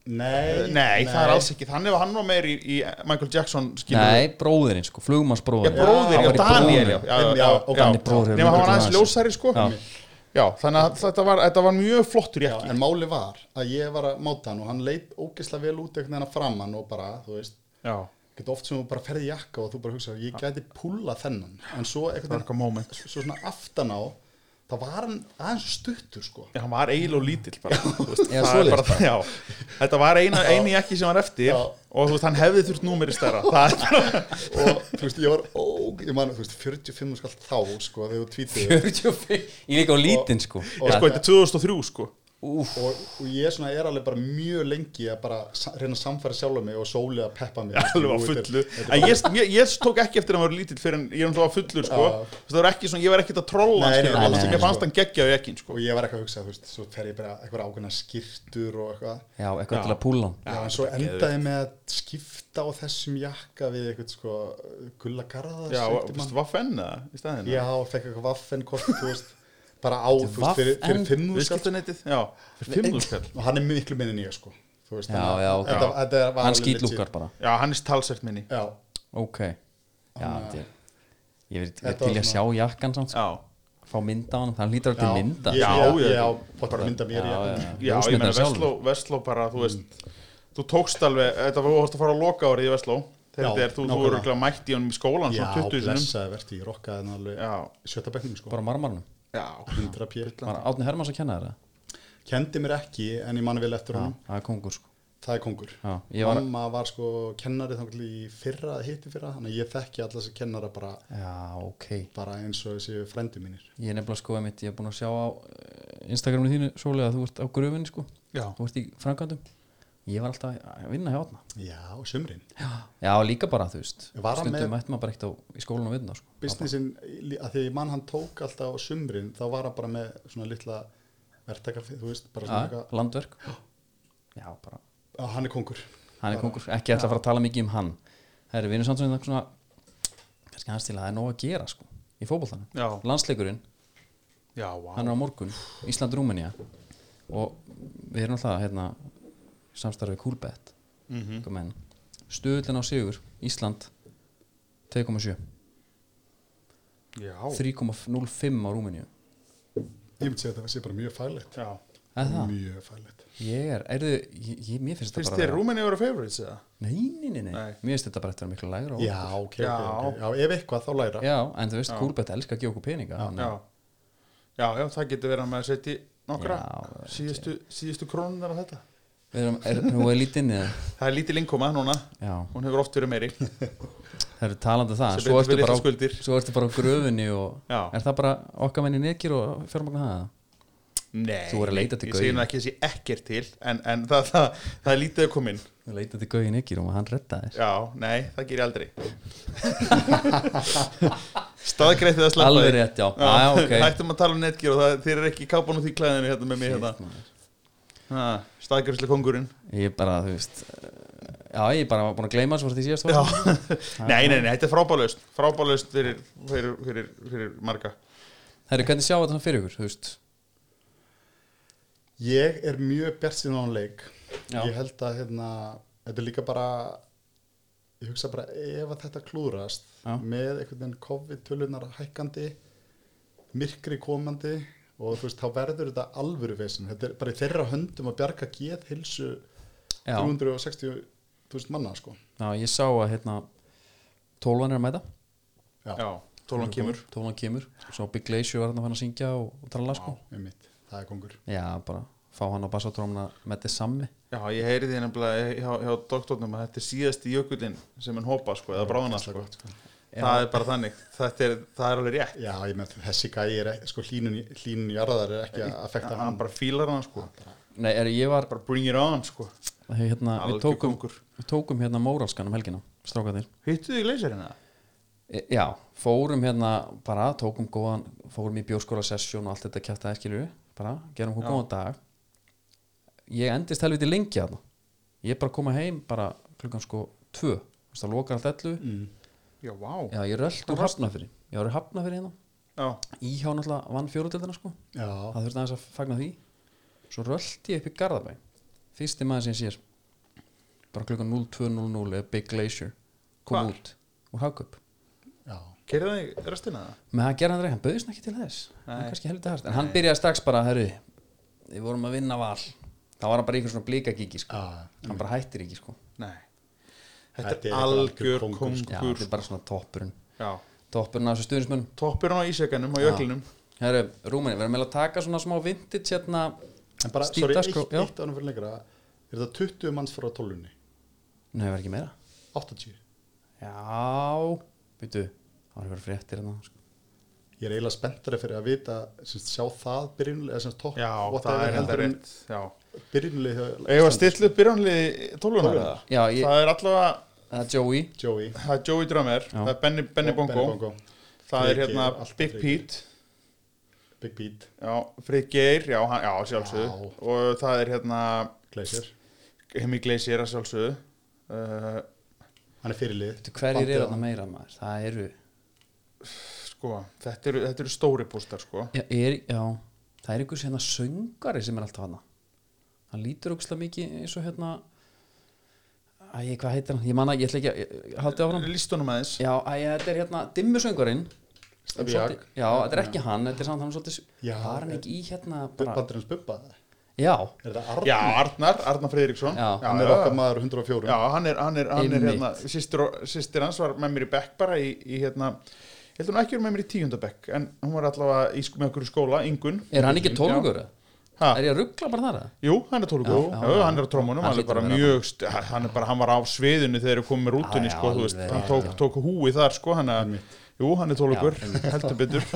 nei,
veist, Nei, það er alls ekki Þannig var hann var meir í, í Michael Jackson skilur við.
Nei, bróðirinn sko, flugmannsbróðirinn
Já, bróðir, já,
Hann var í
Daniel já, *laughs*
bróðirinn.
já, já,
Einmitt, já,
já,
og
já.
gamli
bróðir
Nema hann var aðeins
Mikkelsen.
ljósari sko
Já.
Já, þannig að þetta var, þetta var mjög flottur
Já,
jakki
en máli var að ég var að máta hann og hann leit ógeðslega vel út einhvern veginn að framann og bara, þú veist,
Já,
getur oft sem þú bara ferði jakka og þú bara hugsa, ég gæti púla þennan, en
það
svo
var
einhvern
eitthvað moment
veginn, svo svona aftan á, þá var hann aðeins stuttur, sko.
Já, hann var eil og lítill bara, þú veist,
Já,
það er
svoleiðis
bara já, Þetta var eina, eini jakki sem var eftir
Já.
og þú veist, hann hefði þurft númeri stærra Það er bara
Og, þú veist, ég var óg, ég man, þú veist, 45 skall þá, sko, þegar þú tvítið.
45, ég líka á lítinn sko
Ég sko, þetta er 2003 sko
Úf,
Og, og ég svona er alveg bara mjög lengi að bara sa- reyna að samfæra sjálfa mig og sóli að peppa mig.
alveg á
Jú, þetta er-
fullu
þetta er
en ég, ég, ég tók ekki eftir að hann var lítill fyrir en ég er náttúrulega fullur sko
Já.
Þú veist, það var ekki svona, ég var ekkert að trolla
Nei,
hann
nei,
skilur,
nei,
alveg
nei,
sem
nei,
ég fannst
sko.
hann geggja á ekkin sko
og ég var eitthvað að hugsa, þú veist, svo fer ég bara eitthvað ákveðna skýrtur og eitthvað
já, eitthvað til að púla hann
Já, en svo endaði ég með að skipta á þessum jakka við eitthvað sko gulla garða
já, þú veist, vaffenn eða í staðinn
já, og fekk eitthvað vaffen kort, þú veist bara á, þú veist, fyrir,
Vaffen?
fyrir fimmu skall
viðskiptanettið, já, fyrir fimmúskall
og hann er miklu minni en ég sko þú veist,
Já,
þannig að
já, ok.
þetta, þetta var
Hann
alveg
skýtlúkar
legit.
bara,
já, hann er talsert minni
já,
ok Já, þetta er Ég verið
Þetta
til
var
að sjá jakkan samt sko
já,
Fá mynda á hann, það lítur
já,
alltaf mynda
ég,
Já,
ég,
ég-
ég, á bara mynda mér já, já.
já ég meina Vestló, Vestló bara,
Mm.
þú veist þú tókst alveg, þetta var óhast að fara á loka árið í Vestló
Já,
þegar þetta er, þú, þú
nákvæmlega.
eru glæð mætt í honum í skólan
Já,
svona 20 sinum
blessaði verði, ég rokkaði hann hérna alveg
já,
í sjötta bekknum sko,
Bara marmarnum,
já,
100 pjö
bara Átni Hermanns að kenna þér það
Kendi mér ekki, en ég manna vel eftir hann
Það er kongur sko
Það er kongur
Já, ég var-
Mamma var sko kennari þannig í fyrra, hitti fyrra Þannig að ég þekki alla þessi kennara bara,
Já, ok
bara eins og þessi frendi mínir
Ég er nefnilega sko að mitt, ég er búin að sjá á eh, Instagraminu þínu svolítið að þú ert á gröfinni sko
já.
Þú ert í framkvæmdum Ég var alltaf að vinna hjá þarna
Já, og sumrin
Já, líka bara þú veist
Var hann
Stundum
með-
mætti maður bara ekkert á í skólan og vinna sko.
Businessin, að því að mann hann tók alltaf á sumrin Þá var hann bara með svona litla verktaka Þú veist, bara svona
ja,
eitthvað
Landverk Já, bara
Já, Hann er kongur
Hann er kongur, ekki alltaf að fara að tala mikið um hann Það eru vinur samt svona svona kannski hans til að það er nóg að gera sko í
Já.
fótboltanum Landsleikurinn,
já, vá.
hann er á morgun Ísland-Rúmenía og við erum alltaf hérna samstarfið Kúlbett
Mm
Mhm.
-hmm.
mm -hmm. stöðlinn á sigur Ísland 2,7
já.
3,05 á Rúmeníu
Ég myndi segja að þetta sé bara mjög faglegt
já.
Er það?
Mjög faglegt
Ég er, er þið, ég, ég, mér finnst
finnst
þetta bara
þér Rúmeni voru favorites eða?
nei, nei, nei, nei,
Nei.
mér finnst þetta bara eftir að vera miklu lægra á
Já,
okkur.
ok,
Já.
ok, ok Já, ef eitthvað þá læra
já, en þú veist, Kúlbett elskar að gefa okkur peninga þannig að-
já. já, já, það getur verið að maður setji nokkra
Já,
síðustu, síðustu krónunar af þetta
Við erum, er, nú er lítinn eða
það er lítil innkoma núna
Já,
hún hefur oft verið meiri
það eru talandi um það
Sem
svo
betur fer
ertu, bara á,
litlar skuldir.
svo ertu bara á gröfunni og
Já.
Er það bara okkar menni nekir og fjármagna það?
Nei,
Þú voru að leita til
ég segi nú
gaurinn.
ekki þessi ekkert til en, en það, það, það er lítið að koma inn
Við leitaði til Gauði nekir og hann redda þér
Já, nei, það ger ég aldrei *laughs* Staðgreitt eða sleppa
Alveg rétt, já, já, já ok
*laughs* Hættum að tala um netgir og það, þeir eru ekki kápan út í klæðinu hérna með mér
Shit,
hérna
maður.
Staðgreittlega kongurinn
Ég bara, þú veist eh, Já, ég bara var búin að gleyma svo því síðast
Já, *laughs*
var.
nei, nei, nei, þetta er frábælaust Frábælaust fyrir, fyrir, fyrir, fyrir marga
Herri, hvernig sjá þetta svona fyrir ykkur, þú veist
Ég er mjög bjart síðan á hann leik
Já.
Ég held að hérna, þetta er líka bara ég hugsa bara ef að þetta klúðrast
Já.
með einhvern veginn COVID-tölunar hækkandi myrkri komandi og þú veist, þá verður þetta alvöru vesen þetta er bara í þeirra höndum að bjarga geð hilsu
Já.
360.000 manna sko
Já, ég sá að hérna Tólvan er að mæta
Já,
Já, tólan kemur
Tólvan kemur Svo Big Glacier var hann að fara að syngja og, og tala sko
einmitt, það er kongur
Já, bara fá hann á bassatrómna með þess sammi
Já, ég heyri því nefnilega hjá, hjá doktornum að þetta er síðasti jökullin sem hann hópa sko, eða bráðina sko. Það er bara þannig, þetta er, það er alveg rétt
Já, ég með þessi gæi er ekki, sko hlínun, hlínun jarðar er ekki að
Hann,
affekta hann
bara fílar hann sko,
Nei, er, ég var
bara bring it on sko
hérna,
Algjör
við, tókum,
kóngur.
við tókum hérna móralskan um helgina Strákaðir
Hittu þig leysarina?
e, Já, fórum hérna bara, tókum góðan Fórum í bjóskóla sessjón og allt þetta kjátt aðeins skilur Bara, gerum hún góðan dag ég endist helviti lengi þarna ég er bara að koma heim bara klukkan sko tvö, þú veist það lokar allt ellu
Mm. Já, vá
já, ég rölt úr hafnafyrir ég var í hafnafyrir hérna,
Já,
íhjá náttúrulega vann fjóruðildina sko,
já,
það þurfti aðeins að fagna því svo rölt ég upp í Garðabæ fyrsti maður sem ég sér bara klukkan 02.00 eða Big Glacier kom
Hvar?
út úr hagköp
já,
keirði það í restina það?
menn hann gerði hann reyð, hann bauðist ekki til þess hann
Nei.
kannski helviti hægt, en hann byrjaði strax bara herri, við vorum að vinna val þá var hann bara í einhver svona blíkagíki sko.
Ah, já.
hann bara hættir ekki sko.
Nei Þetta,
Þetta
er
er
algjör
algjör
kongur,
kóngur,
já,
sko.
þetta er bara svona toppurinn
Já,
toppurinn af þessu stuðnismönnum
toppurinn á ísjökanum á
Já.
jöklinum
herri, Rúmeni, við erum meðal að taka svona smá vintage hérna
En bara,
Stíf
sko,
sorry,
dagskrá,
eitt,
já.
eitt ánum fyrir lengra Er það 20 manns frá tólunni?
nei, það var ekki meira
80
já, býtu það var eitthvað fréttir hérna sko.
Ég er eiginlega spenntari fyrir að vita semst, sjá það byrjunulega, eða semst topp
Já, það
whatever,
er enda
heldur en
rétt Já
byrjunulega
Ef að stilla upp byrjónlið tóluna
Tólfunar.
það?
Já, ég-
Það er allavega
það er Joey
Joey
Það er Joey Drummer,
Já.
það er Benny, Benny
Og
Bongo, Það er
Frigg
hérna
er alltaf
Big
Frigg.
Pete
Big Beat,
Já, Frigg Geir, já, hann, já sjálfsögðu
Vá.
Og það er hérna
Glacier
Hemi Glacier að sjálfsögðu uh,
Hann er fyrirlið
Býtu, hverjir
Bandið
eru
á.
þarna meira maður það eru,
Sko, þetta eru, þetta eru stóri bústar sko
já, er, já það er einhvers hérna söngari sem er alltaf hana hann lítur ógustlega mikið eins og hérna æ, ég- hvað heitir hann, ég manna, ég ætla ekki að ég- haldið á hann,
Listunum aðeins
já, æ, þetta er hérna dimmusöngurinn
Stefán
já,
Jag.
þetta er ekki hann, þetta er samt hann svolítið,
Já,
var hann
eh,
ekki í hérna bara,
Bandur hans Bubba
já,
Er það Arn?
Já, Arnar, Arnar Friðriksson
Já.
Hann er okkar maður 104
Já, hann er, hann er, hann er
Einmitt.
hérna sýstir, sýstir hans var með mér í bekk bara í, í hérna Ég held hún ekki verið með mér í tíundabekk En hún var allavega í, sk- með okkur í skóla, Ingun
er hann ekki tónungur
Ha,
er ég að ruggla bara þar eða?
Jú, hann er tólugur,
Já,
já,
já, já.
hann er á trómunum
Hann
hann, er
hlýtur
bara
að vera
mjög, st- hann er bara, hann var á sviðinu þegar þeir komu með rútunni,
Já,
sko, þú veist
alveg
hann
rétt,
tók,
já.
tók húi þar, sko, hann að jú, hann er tólugur,
Já, einmitt.
heldur
*laughs*
betur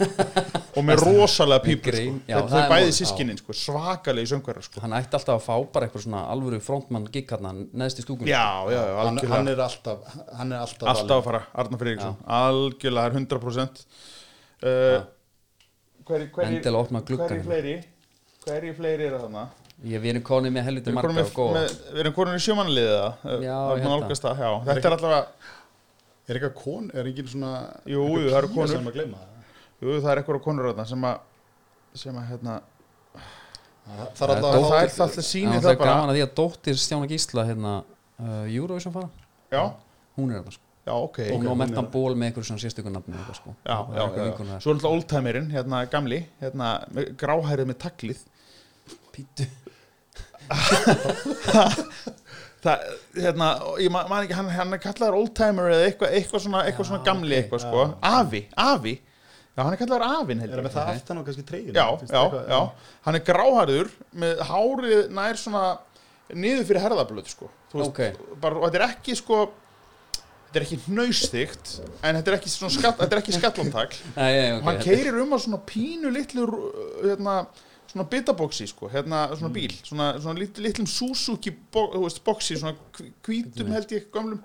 og með rosalega pípur, sko
Grein, já,
Þetta-
það
þau bæði
er málið, já.
sískinin, sko, svakalegi söngarar, sko
hann ætti alltaf að fá bara eitthvað svona alvöru frontmann gig hérna neðst í stúkun
Já, já, já,
hann, hann
algjörlega
er alltaf Hann er alltaf
Alltaf að fara, Arnar Friðriksson, algjörlega, það er 100% uh, Hverju,
Endilega opna
hverju, hverju
gluggann hérna.
fleiri hverju fleiri eru þarna?
ég við erum konið með helviti
Við erum
marga og
konum
góða
með, við erum konum í sjömanliðið það,
Já,
það er
ég
nú
held
nálgast það, já, þetta er allavega
Er eitthvað kon, er engin svona
Jú,
einhver
jú, það eru
pía
konur.
sem að gleyma það?
Jú, það er eitthvað á konur þarna sem að sem að hérna
Það
Það
það
er
það,
er
dó-
alltaf
það er það
Já,
sýnir
það
það
er
bara
gaman að því að dóttir Stjána Gísla hérna uh, Eurovision fara,
já,
hún er hérna sko.
já, ok,
og
já,
nú
hún
mætti
er-
hann ból með einhverjum svona sérstöku nafni eitthvað, sko.
já,
Það er
já,
einhver
já.
vinkona þar.
svo er alltaf oldtimerinn, hérna gamli hérna, með gráhærið með taglið
*laughs* Pítu.
það, hérna, og ég man, man ekki hann, hann er kallaður oldtimer eða eitthvað eitthvað svona, eitthvað svona gamli eitthvað sko afi, afi, já, hann er kallaður afinn
Er það
heldur
með það aftan á kannski treyjun
já, já, já, hann er gráhærður með hárið nær svona niður fyrir herðablöð sko. Þú
Ókei.
bara, og þetta er ekki sko þetta er ekki hnausþygt en þetta er ekki, svona skatt, þetta er ekki *laughs* skallantak
Æ, æ, ok,
og hann
þetta-
keirir um á svona pínu litlu rú- hérna, svona bitabóksi sko, hérna, svona bíl svona, svona lit, litlum Suzuki bó, þú veist, bóksi, svona hví- hvítum held ég gömlum,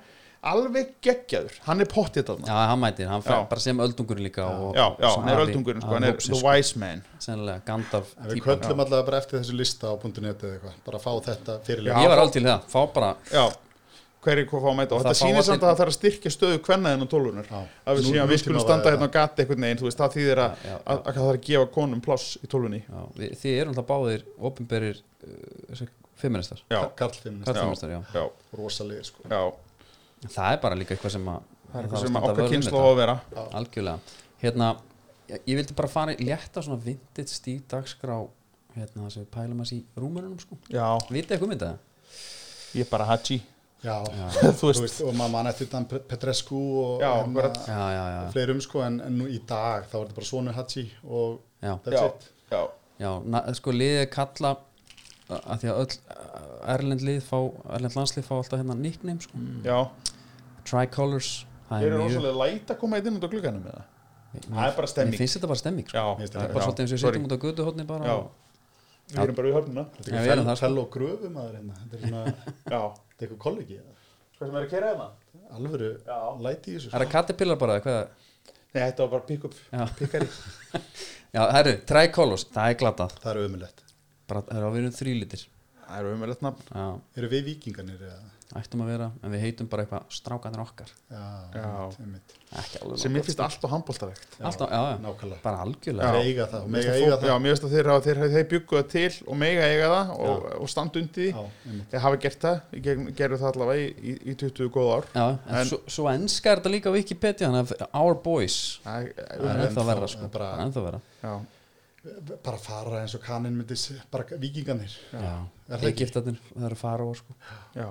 alveg geggjaður hann er pottið þarna
já, hann mætir, hann fer
Já.
bara sem öldungurinn líka og,
já, já,
sem
hann er
afi-
öldungurinn sko,
afi
hann er
hópsins,
the wise man
sko. sennilega Gandalf
En við
típan.
köllum allavega bara eftir þessu lista á .net eða eitthvað, bara fá þetta fyrirlega.
ég var alveg til það, fá bara
já hverjir hvað fá að mæta og
Það
þetta
fá
sýnir
allir-
samt að það þarf að styrkja stöðu kvennaðin og tólunur
Já.
að við
Nú-
síðan við
nútíma
skulum
væri
standa
það.
hérna og gata einhvern veginn þú veist það þýðir að,
Já, já, já.
að, að það þarf að gefa konum pláss í tólunni
já, við, þið eru alltaf báðir opinberir uh, feministar
já,
Karlfeminist,
karlfeministar, já.
já,
rosalegir sko.
já
það er bara líka eitthvað sem að
það er
þarf að
eitthvað sem
standa
að okkar
vörð um
kynslu
þetta.
á að vera
algjörlega hérna, ég, ég vildi bara fara í létta svona vintage stíf dagskrá hérna sem við pælum að sí rúmurunum sko
já,
vitið eitthvað mynda það?
ég er bara *laughs* hachi
Já,
þú
þú
veist,
veist, og maður mann eftir Dan Petrescu og
Já,
hérna,
akkurat.
já, já, já,
fleirum sko, en, en nú í dag þá er þetta bara Sonu Hachi og
já,
that's
já,
it.
já,
já na, sko liðið er kalla að því að öll erlend lið fá, erlend landslið fá alltaf hérna nickname sko,
já
tricolors það
Mm. þeir
er
eru
mjög,
rosalega læt að koma eitt inn út á glugganum með það það er bara stemming.
mér finnst þetta bara stemming sko.
já,
Mér finnst
það
já,
er bara svolítið eins og við
sorry.
setjum út á göduhotni bara
Já.
og-
við erum bara í höfnuna
Já,
Þetta er
við erum
eitthvað
það,
fel-
sko.
fel og gröfu maður hérna. Þetta er svona,
já,
þetta er eitthvað kollegi.
hvað sem er að kera hérna?
Alvöru,
Já.
læti í þessu. sko.
það er að katapillar bara eða hvað er-
nei, þetta var bara pick up
Já. *laughs*
pickari
já, herru, tricolors, það er glatað
Það er ömulegt.
bara, herru, við erum þrýlítir
Það eru umverðt nafn
já,
Eru við vikingarnir eða?
ættum að vera en við heitum bara eitthvað strákanir okkar
Já,
Já.
einmitt, einmitt.
ekki alveg
sem
nóg
mér
gott.
finnst alltaf handbóltavegt
alltaf, já, já,
Nákvæmlega.
bara
Já.
algjörlega
Þeir eiga það,
Mér
mega
finnst að
eiga
fólk-
það.
já, mér finnst að þeir, hafa- þeir, þeir byggu það til og mega eiga það og, og standa undir
Já,
því
einmitt.
Þeir hafa gert það, í gegn- gerðu það allavega í, í, í 20 góð ár
Já, en,
En-
svo, svo enska er þetta líka á Wikipedia þannig að Our Boys
Það er-
það er
er
ennþá
ennþá-
verra sko
það er bara-
það er ennþá verra
Já,
Bara fara eins og kaninn myndi s- bara vikingarnir. Er
já,
það ekki?
Egyptarnir, það eru faraóar sko
já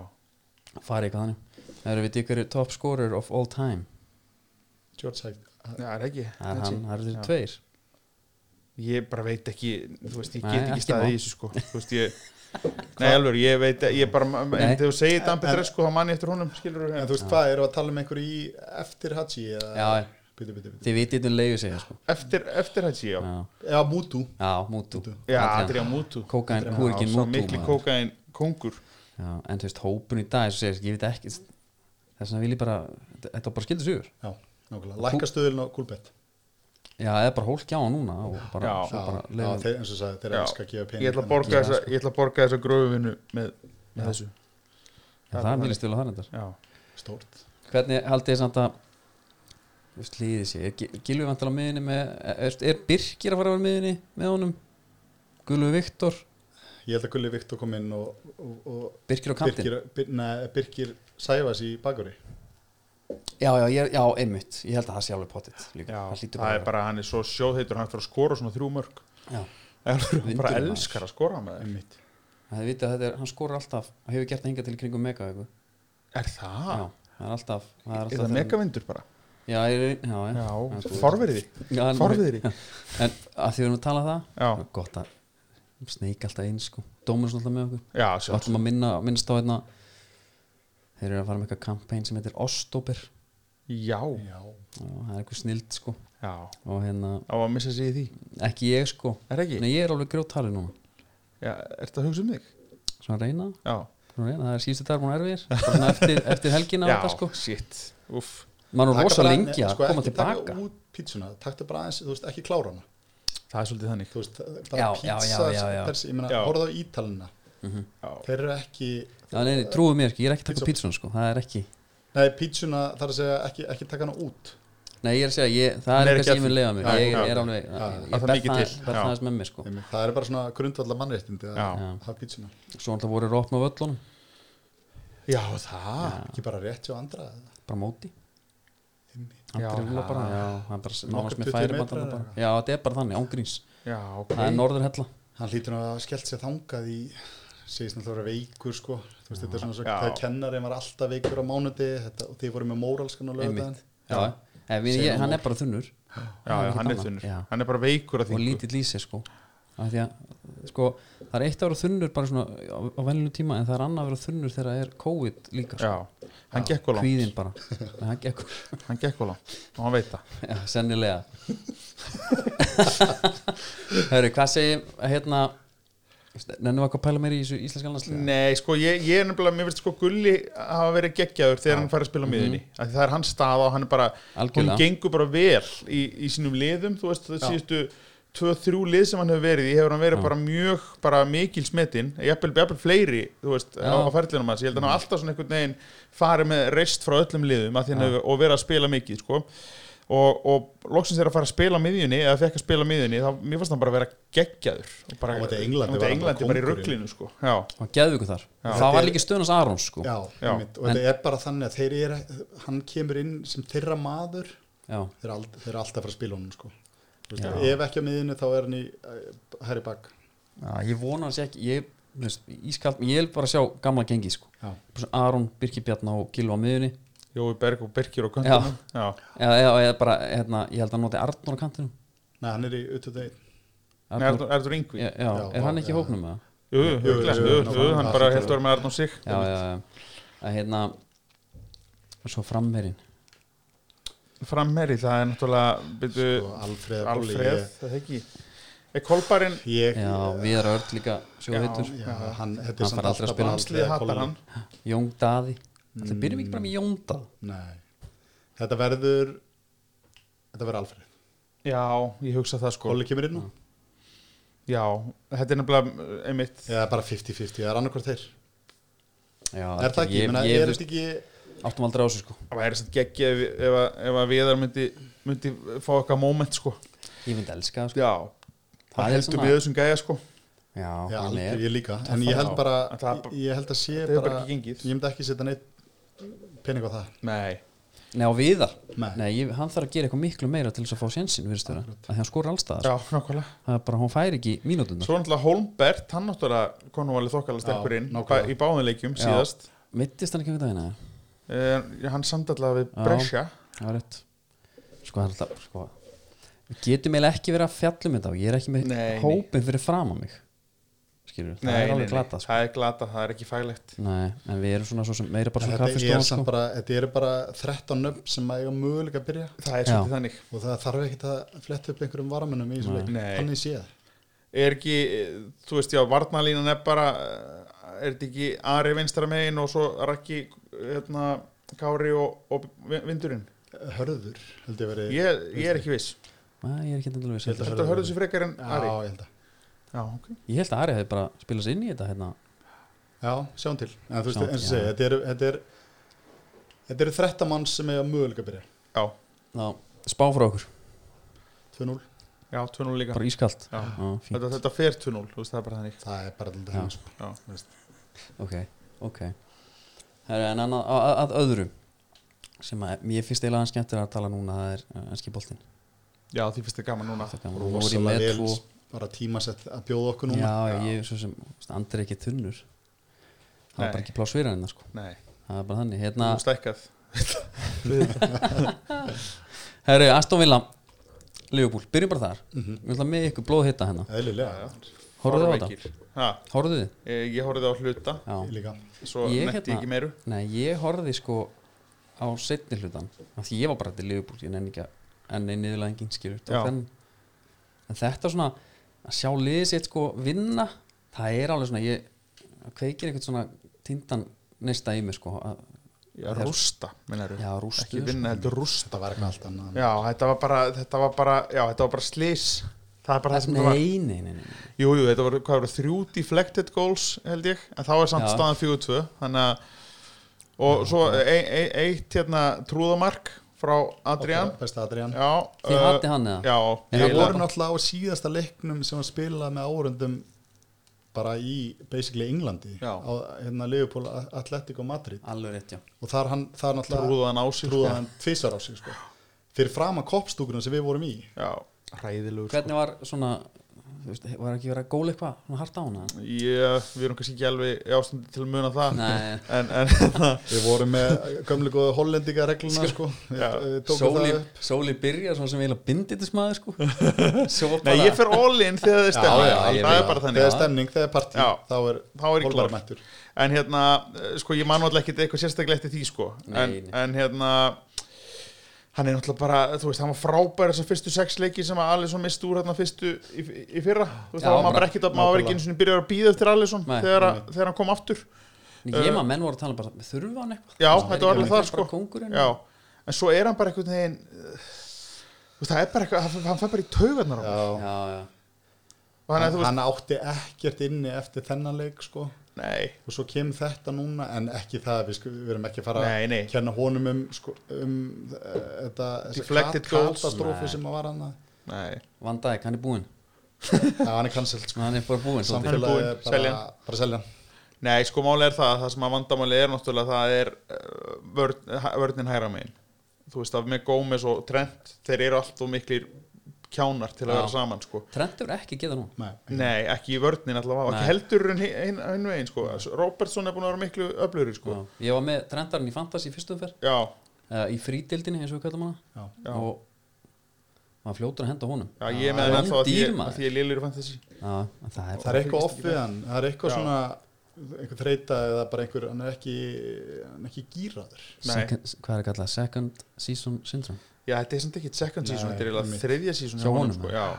farið eitthvað þannig það eru við ykkur top scorer of all time
George Hyde.
Já, er ekki
það er
Þetta
hann, það eru
Já.
þeir tveir
Ég bara veit ekki, þú veist, ég
Nei,
get
ekki
ekki staðið
má.
í þessu sko Þú veist, ég Nei, alveg, ég veit, ég bara en
Nei.
Þegar þú segir Dan Petrescu, þá manni eftir honum, skilur
En þú veist hvað, eru að tala um einhverju í eftir Haji eða?
Já, já.
Bitu, bitu, bitu.
þið vitið um leiðu segja sko
Eftir, eftir hætti, já
já,
Já, Mutu.
já mútu
Já, Adrian Mutu
kókain,
Já,
húrkin
sá mikli
mútu
kókain kongur
já, en þú veist hópun í dag eins og segir, ég veit ekki þess vegna vil ég bara þetta var bara skildur sigur
Já, nákvæmlega. Lækka stöðulinn á Kulbett.
já, eða bara hólk já núna og bara,
Já.
svo bara
já,
leiðu
þeir, eins og sagði, þeir
Já.
elska að gefa pening.
Ég ætla að borga þessa, ég ætla að borga þessa grófinu með, með þessu
já, það er mjög stil á það reyndar
Já,
Stórt.
hvernig haldið þið samt að þú veist, líðið sér, er Gilvi vantar á miðinni með, er, er Birkir að fara á miðinni með honum Gulvi Viktor,
Ég held að Gulli Viktor kom inn og, og, og
Birkir á kantinn
Birkir, bir, ne, Birkir Sæfas í bakvöri.
já, já, ég, já, einmitt, ég held að það sé alveg pottitt líka,
já
það
það
hlýtur bara,
er bara, hann er svo sjóðheitur hann fyrir að skora svona þrjú mörg
Já.
Hann bara
Vindurinn,
elskar að skora með þeim
Einmitt.
það er vitað að þetta er, hann skorur alltaf hann hefur gert það hingað til í kringum mega já,
Er það?
það er alltaf það
Er það megavindur bara?
já, er, já, já,
Já,
sko.
forverði
já, en-
Forverði
*laughs* en að því við erum að tala um það,
Já.
gott að sneik alltaf eins, sko, dómur alltaf með okkur
Já,
Við
sjálf
ætlum að minna, minnst á einna þeir eru að fara með eitthvað kampæn sem heitir Ostober
Já,
Já.
og það er eitthvað snild sko
já
og hérna,
Á að missa sig í því
ekki ég sko
Er ekki?
en ég er alveg grjóttalið núna
Já, er það að hugsa um þig?
svona að reyna,
Já
svona að reyna, það er síðustu dagar múin erfiðir svona eftir, eftir helgina
Já,
þetta sko
shit Úff
maður er
Taka
rosa
bara-
lengi að
sko,
koma
ekki
tilbaka
taka út pítsuna, taktu bara aðeins, þú veist, ekki klára hana.
Það er svolítið þannig
Þú veist,
Já,
bara
já, já,
pítsa,
já, já.
persi, ég meina,
Já.
horfðu á ítalina.
Já,
Þeir eru ekki,
já, nei, nei, trúið mér sko, ég er ekki að taka
Pizza.
pítsun sko það er ekki,
nei, pítsuna, þar að segja, ekki, ekki taka hana út.
nei ég er að segja ég, það
Nei,
er
ekki
eitthvað sem ég
að-
vil leiða mig
Já,
ég
já.
er alveg, ég-
Já,
það
ég
er
berð
mikið
það
til.
berð
Já.
það aðeins með mér sko
Einmitt. Það er bara svona grundvallar mannréttindi að
Já.
að hafa pítsuna.
svo alltaf voru rópn á völlunum,
já það
Ekki bara rétt hjá andra. eða?
bara móti
Einmitt.
Já,
Andri rúla bara,
það-
já, hann bara nánast með
20
færi
metrar eða
bara. Já, þetta er bara þannig, ángríns
Já, ok
Það er norðurhella
Hann hlýtur nú að hafa skellt sér þangað í segist náttúrulega að vera veikur sko þú veist þetta er svona svo
Já.
það kennarinn var alltaf veikur á mánuti þetta, og þið voru með móralskan og lögðan
Einmitt Já, en við,
Segir
ég, hann
hún.
er bara þunnur
Já, já, hann er þunnur
Já.
Hann er bara veikur að
og
þingu
lítill í sig sko af því að sko það er eitt að vera þunnur bara svona á, á venlunum tíma en það er annað að vera þunnur þegar það er COVID líka sko.
Já, hann gekk á langt
kvíðin bara *laughs* En hann gekk,
Hann gekk á langt og hann veit það
já, sennilega Hörru, hvað segir hérna nennum við eitthvað að pæla meir í þessu íslenska landslega
Nei, sko, ég, ég er nefnilega, mér finnst sko Gulli hafa verið geggjaður þegar hann fær að spila á miðunni mm Það er hans stað og hann er bara
Algjörlega.
Hún gengur bara vel í, í sínum liðum Þú veist, það
Já.
síðustu Tvö, þrjú lið sem hann hefur verið í hefur hann verið
Já.
bara mjög, bara mikil smetinn jafnvel, jafnvel fleiri, þú veist,
Já.
á, á ferlinum hans ég held að hann hafi alltaf svona einhvern veginn farið með reist frá öllum liðum að því hann
Já.
hefur og verið að spila mikið, sko og, og loksins þegar að fara að spila á miðjunni eða fekk að spila á miðjunni, þá mér fannst hann bara vera geggjaður og bara,
Á móti Englandi
á móti
var hann bara
Englandi bara í
kóngurinn.
rugglinu, sko já,
og geðu ykkur þar
Þetta
það var
er-
líka stöðnars Arons sko
Já,
Já.
einmitt, og þetta er bara þannig að þeir eru hann kemur inn sem þeirra maður
Já.
þeir eru ald- þeir eru alltaf að fara að spila honum sko Þú veist,
Já.
ef ekki á miðinu þá er hann í eh, Harry Bagg
Já, ég vona hans ekki ég, þú veist, ískalt, ég vil bara sjá gamla gengi sko.
Já.
Bara svona Aron, Birkir Bjarn og Gilva á miðunni
Jói Berg og Birkir og Köndunum já.
eða, eða, eða bara, hérna, ég held að hann noti Arnur á kantinum
Nei, hann er í utöðu einn
Nei,
Arnór-
Erður, Erður Ingvi
já, já,
Já,
er hann
já,
ekki í
já.
hópnum með
Jú, jú,
jú,
örugglega,
jú,
jú,
jú,
jú,
jú,
hann
jú,
bara
jú,
heldur með Erður sig
já, já, já, að hérna og svo framverinn
Frammeri, það er náttúrulega byrju,
Sko, Alfreð Bolli,
Alfreð,
ég-
það er ekki Er Kolbarinn
ég,
já, við erum öll líka sjóheitur
já, hann,
Hann
þetta er samt
fær aldrei að
alltaf
spila.
bara
Landslið hattar hann
Jón Daði
Mm.
það byrjum við ekki bara með Jón Daði
Nei, þetta verður þetta verður Alfreð
Já, ég hugsa það sko
Kolli kemur inn og
Já, þetta er nefnilega uh, einmitt
eða bara 50-50, það er annarkvort þeir
Já,
er það ekki, ég, meina,
ég,
er
ég,
þetta ekki
áttum aldrei á þessu sko
Það væri samt geggja ef, ef, að- ef að viðar myndi, myndi fá eitthvað moment sko
Ég myndi elska það sko
Já,
Það er
það heldur
svona-
við þessum gæja sko
Já,
Já,
hann
algjör,
er
ég líka, en ég
það-
held bara
en það-
ég- ég held að sé
Þetta
bara,
hefur bara ekki gengið.
ég myndi ekki setja neitt pening á það
Nei,
Nei, á viðar
Nei.
Nei, ég, hann þarf að gera eitthvað miklu meira til þess að fá sénsinn virðist vera að því hann skora allstaðar
já, nákvæmlega
Það er bara, hún fær ekki mínútundar
Svo náttúrulega Holmbert, hann náttúrulega konum alveg þokkala stekkur inn
nákvæmlega.
bæ- í báðinleikjum
Já.
síðast
Mittist hann ekki einhvern veginn eða?
uh, Hann samtallega við
Já.
Brescia
Það var rétt Sko, það er alltaf, sko Við getum eiginlega ekki verið að fjallum þetta og ég er ekki með
Nei, nei.
hópin fyrir fram á mig Skilur, það er alveg glata sko.
það er glata, það er ekki faglegt
Nei, en við erum svona svo sem meira bara
En
svona
þetta er
kaffistofan
samt
sko.
bara, þetta eru bara 13 nöfn sem að eiga möguleika að byrja
Það er
Já.
svolítið þannig
og það þarf ekkert að fletta upp einhverjum varamennum í þessum
Nei.
leik,
Nei.
þannig sé það
Er ekki, eh, þú veist já, varnalínan er bara eh, er þetta ekki Ari vinstra megin og svo Raki, hérna, Kári og, og Vin- Vindurinn
Hörður, held ég verið
ég, ég er ekki viss
Nei, ég er ekki endilega viss um
Ég held
Þetta hörðu þessi frekar en
Já,
Ari
ég held að
Já, ok
Ég held að Ari hefði bara spilast inn í þetta hérna.
Já, sjáum til En þú veist,
Sjáum til,
eins
já.
og segja, þetta eru þetta er, þetta eru 13 mann sem eiga möguleika að byrja
Já,
Ná, spá frá okkur,
2-0,
já, 2-0 líka
bara ískalt
Já.
Já, fínt.
Þetta, þetta fer 2-0, þú veist, það er bara þannig
það er bara sko. alltaf
Já.
hans
Já.
Ok, ok Herra, En annað, að, að öðrum sem að mér finnst eiginlega aðeins skemmtir að tala núna það er uh, enski boltinn
Já, því finnst þetta gaman núna
Það er gaman. Nú er ég
rosalega
með
vel
tvo-
bara tímasett að bjóða okkur núna
Já, ég er svo sem, þú veist, andri er ekki tunnur Það
Nei.
er bara ekki pláss fyrir hennar sko
Nei,
Það er bara þannig,
þú
hérna
stækkað
Herru, Aston Villa, Liverpool, byrjum bara þar Við ætlum með ykkur blóð hitta hérna
Eðlilega,
Horfðu á
Fárveikir.
þetta,
Ha,
horfðu þið
eh, Ég horfði á hluta
ég
Já,
líka
Svo
Ég,
netti
hérna-
ég ekki meiru
nei, ég horfði sko á setni hlutan af Því ég var bara til Liverpool, ég nenni ekki að enn einn yfirlega enginn skilur
Já.
en, en þetta svona, að sjá liðið sitt sko vinna Það er alveg svona, ég kveikir eitthvað svona tindan neista í mig sko að,
Já, rústa, minnaru
Já, rústuðu,
Ekki vinna, heldur rústa
Þetta var eitthvað allt annað
Já, þetta var bara, þetta var bara, já, þetta var bara slís Það er bara það sem það var
Nei, nei, nei, nei, nei.
Jú, jú, þetta voru, hvað voru, þrjú deflected goals held ég, en þá er samt
Já.
staðan 4-2 þannig að og svo e e eitt hérna trúðamark frá Adrian
Besta Adrian
Já,
Þið
uh,
hattu hann eða?
Já,
En
Við
það
eiginlega
vorum náttúrulega á síðasta leiknum sem var spilað með árundum bara í basically Englandi
Já.
á hérna Liverpool Atletico Madrid
Alveg rétt, já
og þar hann þar
bara
náttúrulega
trúðan á sig sko.
trúða hann tvisar á sig sko. fyrir fram að koppstúkunum sem við vorum í
sko. Já, ræðilegur
Hvernig var svona, þú veist, var ekki verið að góla eitthvað svona hart á hana?
Ég, við erum kannski ekki alveg í ástandi til að muna það
Nei,
*laughs* en, hérna, en
við vorum með gömlu góða hollendinga regluna sko. við,
Já.
við tókum
Sóli,
það upp
sóli byrjar svona sem eiginlega
*laughs*
binditismæður sko Svo bara
Nei, ég fer all in þegar það er
Já,
stefna
já,
Það
ég
er
veit.
bara þannig
þegar stemning, þegar partí
Já.
þá er,
Þá er ég
Hólmar
klár.
mættur
En hérna, eh, sko, ég man alltaf ekkert eitthvað sérstaklega eftir því, sko
Nei,
en,
nei.
en hérna Hann er náttúrulega bara, þú veist, hann var frábær þessar fyrstu sex leiki sem að Alisson misti úr hérna fyrstu í, í fyrra Þú veist,
Já,
þá var maður
bara-
bara ekkert að maður var ekki eins og byrjar að býða eftir Alisson
Nei,
þegar, að- þegar hann kom aftur
Ég maður menn voru að tala bara, þurfa hann eitthvað?
Eh, Já,
Þú veist,
þetta var
er
alveg
ekki
það,
bara
sko
kóngurinn?
Já, en svo er hann bara einhvern veginn eh, Þú veist, það er bara eitthvað, hann- hann fær bara í taugarnar á honum.
Já.
já, já
Og hann er, þú veist,
hann átti ekkert inni eftir þennan leik sko.
nei
og svo kemur þetta núna en ekki það, við, sku, við erum ekki að fara
Nei, nei.
að kenna honum um, sko, um uh, þetta þessa
Deflected
kat-
goals.
katastrófu
Nei.
sem að var
*laughs*
hann
Nei,
Vandæk, hann er búinn
Já, hann er cancelled sko.
Hann er bara búinn svolítið
Hann er búinn,
samfélagið er
selja
bara,
hann.
bara selja hann
nei sko máli er það að það sem að vandamáli er náttúrulega það er eh, vörn, hæ- vörnin hæra megin þú veist að með Gómez og Trent þeir eru allt og miklir kjánar til að
Já.
vera saman sko
Trentur ekki geta nú
Nei, ekki.
nei ekki í vörnin allavega
Nei.
ekki heldur en hin- hin- hinn vegin sko Robertson er búin að vera miklu öflugri sko
já. Ég var með trentarinn í Fantasí fyrstum fyrr
já,
uh, Í frítildinni eins og við kallum hana
Já.
Já.
Og maður fljótur að henda honum
já ég er
Já,
með hann þá að því
dýr,
ég-
maður.
að því ég lillur fann þessi
Já, en það er
það er eitthvað off við hann það er eitthvað
Já.
svona einhver þreita eða bara einhver, hann er ekki hann er ekki gýraður
Nei.
second, Hvað er kallað? Second season syndrome
já þetta er samt ekki second season
Nei,
þetta er eiginlega
einmitt.
þriðja season
Hjá
hjá honum
honum,
sko
eða?
já,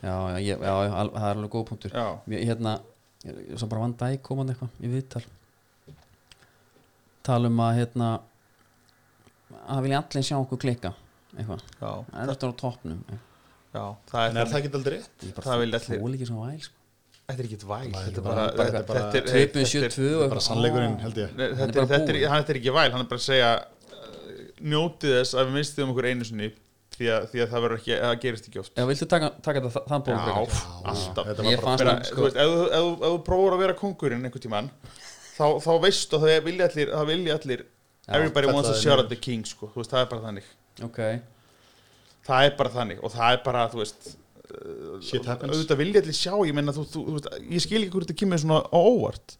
Já, já, ég, já, já al, það er alveg góð punktur
já
Mér, hérna, ég- svo bara vanda í komandi eitthvað í viðtal talum að hérna að vilja allir sjá okkur klika eitthvað,
já
það er eftir á toppnum
Já, það er,
en er það ekki aldrei rétt?
Ég
Það
bara
vilja allir-
þóli ekki svona væl sko.
Þetta er ekki væl
Væl,
Þetta er
væl,
bara
bara-
þetta er
bara-
þetta er- þetta
Trippin
er-
72
Það er bara sannleikurinn held ég
Nei,
Hann er
þetta er,
bara
þetta er,
búinn.
hann, þetta er ekki væl, hann er bara að segja uh, njótið þess að við mistið um okkur einu sinni því að, því að það verður ekki, það gerist ekki oft
Ef viltu taka, taka þetta þann
Já,
bóðum frekar?
alltaf
þetta
Ég
var bara
fannst
Meina,
það
Þú
sko
veist, ef þú- ef þú- ef þú prófur að vera kongurinn einhvern tímann þá, þá veistu að það vilja allir, það vilja allir everybody
þetta
wants to
er
shout
niður.
at the king sko. þú veist, það er bara þannig
sko. Ok
það er bara þannig og það er bara, þú veist eh,
shit happens
auðvitað vilja allir sjá ég menna, þú, þú, þú, veist, ég skil ekki hverju þetta kemur svona á óvart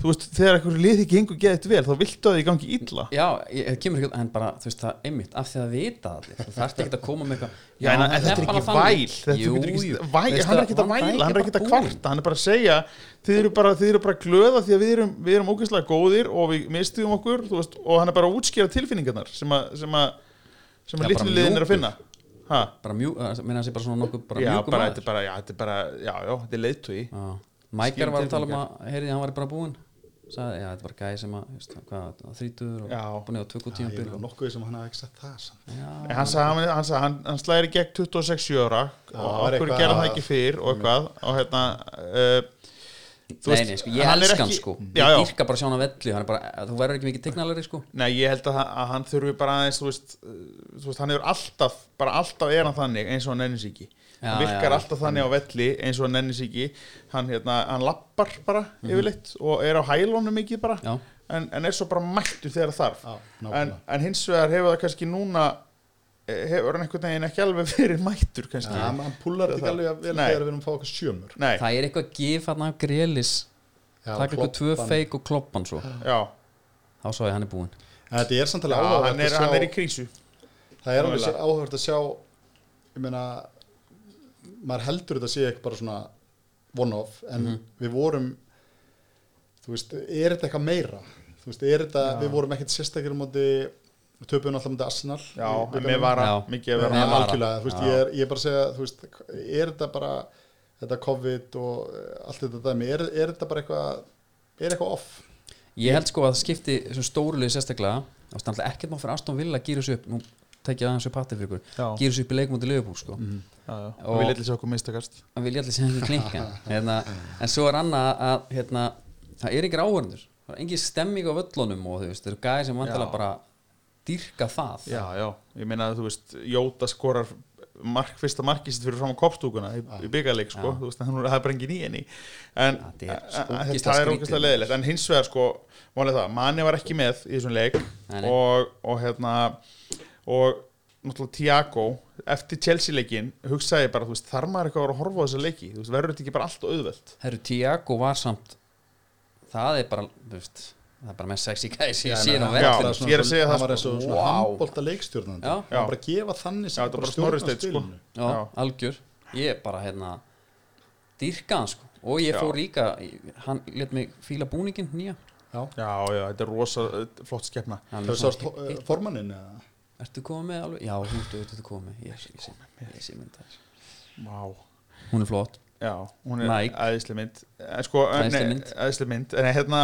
þú veist, þegar einhverju liði gengur geðið vel þá viltu að þið gangi illa
Já, ég, það kemur ekki en bara, þú veist það, einmitt, af því að vita það allir þú þarft ekki að koma með eitthvað
Já, en
það
þetta er ekki
bara þannig.
væl Þetta
Jú,
getur ekki,
jú.
væl
Veist
Hann er
það,
ekki að
Van Dijk
væla, hann er ekki að
bara búinn.
kvarta Hann er bara að segja Þið eru bara, þið eru bara glöða því að við erum, við erum ógeðslega góðir og við mistuðum okkur þú veist, og hann er bara að útskýra tilfinningarnar sem að, sem að, sem
Já,
að
bara
litlu liðin er að
mjúkur.
finna ha,
Bara mjú, að meina þessi bara svona nokkuð bara
já,
mjúkum
bara,
maður.
þetta er bara, já, þetta er bara Já, já, þetta er leiðtugi
Já. Mækjar
Skýrum
var að tala um
tilfinningar.
að heyrði hann var bara búinn sagði, já, þetta var gæði sem að, veist, hvað, þrítuður
Já.
og búin eða tökur tíma
ég er nokkuð sem hann hafði ekki sett það samt.
En hann sagði, hann, hann, sagði, hann, hann slæðir í gegn 26 ára og
það var
okkur
eitthvað-
gerði það ekki fyrr og eitthvað og hérna uh,
Nei, nei, sko, ég elska hann sko
já, já,
Ég dyrka bara að sjá hann að velli hann er bara, þú verður ekki mikið tegnalari sko
Nei, ég held að, hann- að hann þurfi bara aðeins, þú veist, uh, þú veist, hann hefur alltaf, bara alltaf er hann þannig eins og hann nennir sig ekki.
Já,
hann virkar
já.
alltaf þannig á velli eins og hann nennir sig ekki. Hann, hérna, hann lappar bara yfirleitt og er á hælónum mikið bara,
Mhm. Já.
en, en er svo bara mættur þegar þarf.
Já,
en,
nákvæmlega.
en hins vegar hefur það kannski núna, eh, hefur hann einhvern veginn ekki alveg *laughs* verið mættur kannski.
Já, hann púlar þetta ekki alveg að vel
Nei.
þegar við erum að fá okkur sjömur
Nei,
Það er eitthvað gif hann af grélis
Já,
Takk eitthvað tvö
klobban.
feik og kloppan svo
já,
Þá svo ég hann er búinn
En Þetta er samt
já
alveg
hann, er,
áhugavert
hann er
að
í
sjá
krísu.
Það er alveg
Mögulega.
áhugavert að sjá ég meina maður heldur þetta sé ekki bara svona one-off, en við vorum þú veist, er þetta eitthvað meira? Þú veist, er þetta, við vorum ekkert sérstakir á móti töpuðum alltaf móti Arsenal
Já,
Í
en
bikarnum.
með vara,
Já.
mikið að
Nei,
vera.
Með vara.
algjörlega, þú veist,
Já.
ég er, ég er bara að segja þú veist, er þetta bara þetta COVID og eh, allt þetta dæmi er, er þetta bara eitthvað er eitthvað off?
Ég held sko að það skipti þessum stórulegu sérstaklega Það var stannlega ekkert má fyrir Aston Villa að gýra þessu upp Nú tekja aðeins upp hattir fyrir ykkur
Já. Mhm.
Gýra þessu upp í leikumóti Leifupúl sko mm.
Já, já,
Og-
og við letlum sér okkur mistakast.
Hann vilja allir sem ekki klinka hérna, En svo er annað að hérna, Það er yngir áhörndur Það er engin stemming á völlunum og þú veist Það eru gæði sem vantilega
Já.
bara dýrka það
Já, já, ég meina að þú veist Jóta skorar mark, fyrsta markið sitt fyrir fram á kopstúkuna í, í byggarleik sko, þú veist, þannig að það er bara engin í henni en en-
Já, þetta er
en-
sko
en
ógeðslega
það er
skrítið.
ógeðslega leðilegt en hins vegar sko, málið það, manni var ekki með í þessum leik
Nei, nei.
og, og hérna og náttúrulega Tiago eftir Chelsea leikin hugsaði ég bara, þú veist, þar maður eitthvað að vera að horfa á þessa leiki, þú veist, verður þetta ekki bara allt og auðvelt
Herru, Tiago var samt Það er bara, þú veist Það er bara með sexy gæði sem
Já,
ég sé
nei,
nú
hann
já.
verð
var svona-
ég er að segja það,
hann var eins
sko.
og svona
Vá.
wow. handbólta leikstjórnandi
Já.
hann var bara að gefa þannig
Já, þetta var bara
stjórna
Snorri Steinn, sko.
spilinu.
Já,
Já.
algjör Ég bara hérna dýrka hann sko Og ég
Já.
fór líka, hann let mig fíla búningin nýja
Já.
Já, já, þetta er rosa eh, flott skefna
Hann
það
er
var
svona,
sást eh, formannin eða?
Ertu komið með alveg? Já, hún ertu, ertu komið með Ég, ég, ég, ég sé mynda
Vá
Hún er flott
Já, hún er
Mike.
æðislega mynd En sko,
Æðisleg mynd.
æðislega mynd En hérna,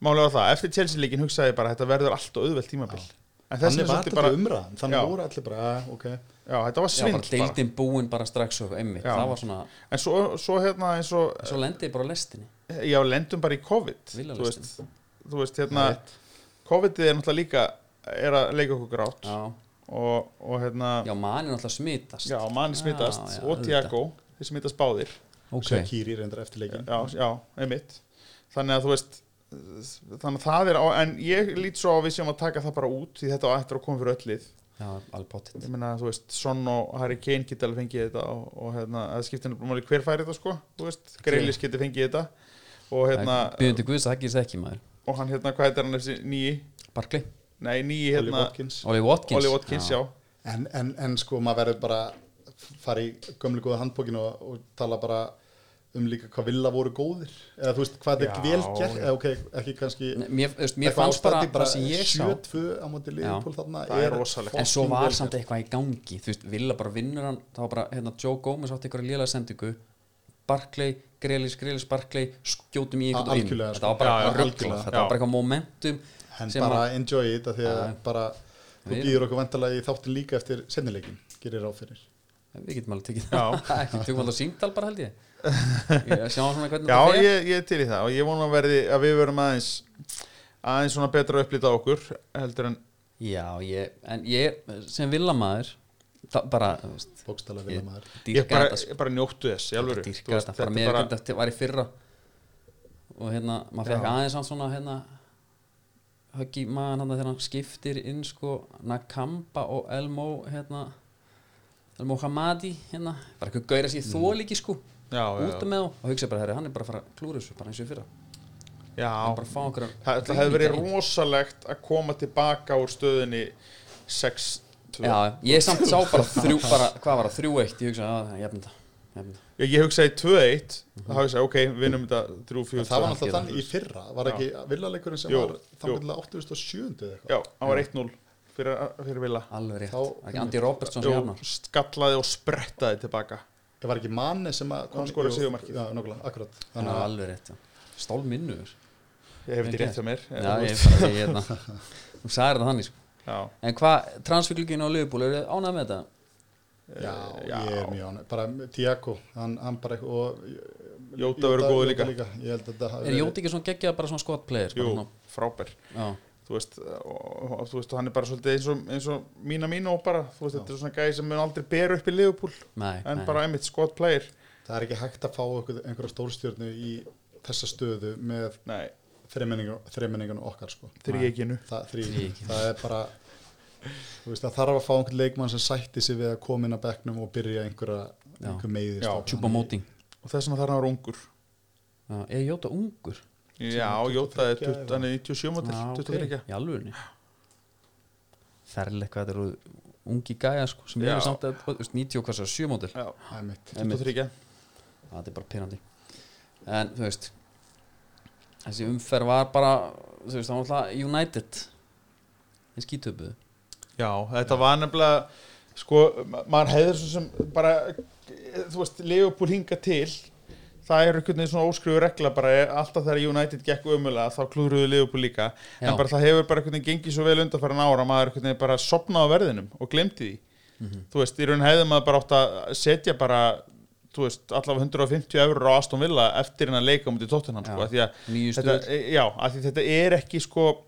málega var það Eftir Chelsea-leikin hugsaði ég bara Þetta verður allt og auðvelt tímabil En þess
þannig
vegna
var
svolítið
þetta
bara
bara, umræðan þannig
Já.
voru allir bara, eh, ok
Já, þetta var
Já, bara
svindl bara
deildin búin bara strax og einmitt
Já.
Það var svona,
En svo, svo hérna, eins og
svo lendi ég bara á lestinni
Já, lendum bara í COVID
Villa
Þú veist,
lestin.
þú veist hérna COVID-ið er náttúrulega líka Er að leika okkur grátt
Já,
og, og hérna
já mann er náttúrulega smitast
Já, manni smittast
já,
Og
auðvitað.
Tiago, þeir smittast báðir
Ok,
okay. Kýri reyndar eftir leikin
já, já, einmitt þannig að þú veist þannig að það er á, en ég lít svo á að við séum að taka það bara út því þetta á eftir að koma fyrir öll lið
já, alveg pottitt
ég meina, þú veist, Son og Harry Kane geta alveg fengið þetta og, og hérna, að skiptinu máli hver fær þetta sko, þú veist, Greilis geti fengið þetta og hérna,
Byrjandi Guðs, það gerist ekki maður
og hann hérna, hvað heitir hann þessi nýji,
Barkley,
nei nýji
Ollie
hérna,
Watkins.
Oli Watkins
Oli Watkins, já,
en, en, en sko maður verður bara að fara í gömlu góða handbókinu og, og tala bara um líka hvað vilja voru góðir eða þú veist hvað þetta
Já,
er vel gert
já.
eða ok, ekki kannski
Nei, Mér, þú veist, mér
eitthvað
fannst bara,
ástandi
bara það sem ég sá
7-2 á móti Liverpool þarna
Það er rosalegt.
En svo
fucking
var
vel
samt
gert.
eitthvað í gangi Þú veist, Villa bara vinnur hann þá bara, hérna, Joe Gomez átti eitthvað lélega sendingu Barclay, Grelis, Grelis, Barclay skjótum í
A-
einhvern veginn
algjörlega,
Þetta var
sko.
Já,
bara
já,
ruggla,
algjörlega,
þetta var
já.
bara eitthvað momentum
en
sem
bara
að-
enjoy it af því að
Já.
bara þú
Við-
býður okkur vandalega í þáttin líka eftir sennileikin gerir ráð fyrir
Við getum alveg tekið
Já.
það Ekki tökum alveg símtal bara held ég Ég sjá svona hvernig
Já,
þetta fer.
ég, ég er til í það og ég vona að, verði, að við verum aðeins aðeins svona betra upplýta okkur heldur en
Já, ég, en ég sem villamaður það bara, þú veist
bókstæla vilja
ég
maður
ég
dýrka
bara,
þetta sko,
ég bara njóttu þess í alvöru.
dýrka
Þú veist,
þetta bara
er
með hvernig þetta var í fyrra og hérna, maður fekk aðeins samt svona hérna högg í maðan hann þegar hann skiptir inn sko Nakamba og Elmo hérna Elmo Hamadi hérna, bara eitthvað gauðra sér mm. þólíki sko
já, já,
út
já.
með þá og hugsa bara, herri, hann er bara að fara að klúra þessu bara eins og í fyrra, hann er
já.
bara að fá okkur
Það, það hefði verið rosalegt að koma tilbaka úr stöðinni 6-2
Já, ég samt sá bara þrjú, bara, hvað var það, þrjú eitt, ég hugsa, að ég hefnda, hefnda.
Ég, ég hugsaði 2-1 þá hugsaði ég, ok, vinnum þetta 3-4
það
Ég
var náttúrulega
gera
þannig í fyrra var ekki villaleikurinn sem
Jú,
var þá
jú.
mjögulega 87. eða eitthvað
Já, hann var 1-0 fyrir, fyrir Villa
Alveg rétt,
Þá-
Var ekki Andy Robertson sem
Jú,
jafnar
skallaði og sprettaði tilbaka
það var ekki manni sem að
Hann skoraði
jú,
sigurmarkið.
já, nákvæmlega, akkurat
Það var
þannig að
alveg rétt, já. stól minnuður
Ég hef
Vel
þetta
gert.
rétt hjá mér
Já, ég er bara, ég er hérna Þú sagði þetta þannig, sko
já.
En hvað, transfíklugin á Liverpool, eru þið ánægð með þetta?
já,
eh, Já.
ég er mjög ánægð bara Tiago hann, hann bara eitthvað og
Jóta verður góður líka.
ég held að þetta hafi
Er
verið-
Jóti ekki svona geggjað bara svona squad player? sko?
Jú,
Bara,
frábær
svona-
þú veist, og, og, þú veist, og hann er bara svolítið eins og, eins og mína mína og bara, þú veist, þetta er svona gæði sem mun aldrei bera upp í Liverpool,
já, nei,
en
nei
bara einmitt skott player,
það er ekki hægt að fá okkur, einhverja stórstjörnu í þessa stöðu með
nei,
þreimenningun okkar sko.
þrýeginu
það, þrí,
Þríeykið.
það er bara þú veist, það þarf að fá einhvern leikmann sem sætti sig við að koma inn á bekknum og byrja einhverja
Já.
einhver meiðist
Já,
á.
Tjúpa móting
og þess vegna þarf hann að vera ungur
Já, Er Jóta ungur?
já, Jóta er
23
20 hann er 97 mótil,
Já, ok,
23
Í alvörni Ferlega hvað þetta eru ungi gæja, sko Sem
Já.
eru samt að, þú veist, 90 og hvað svo, 7 mótil
já,
Það er mitt.
23
Já, þetta er bara pyrrandi en þú veist þessi umferð var bara þú veist, það var alltaf United í skítöpuðu
já, þetta var nefnilega sko, ma- maður hefði svo sem bara, þú veist, Liverpool hinga til það er einhvern veginn svona óskrifu regla bara er alltaf þegar United gekk umulega þá klúðruðu Liverpool líka
Já.
en bara það hefur bara einhvern veginn gengið svo vel undanfæran ára maður einhvern veginn bara sopnað á verðinum og glemti því
Mhm.
þú veist, í raun hefði maður bara átt að setja bara þú veist, allavega 150 eurur á Aston Villa eftir hennar leika mútið Tottenham
Já.
sko, af því að
Níu
þetta,
stuð.
e- já, af því þetta er ekki sko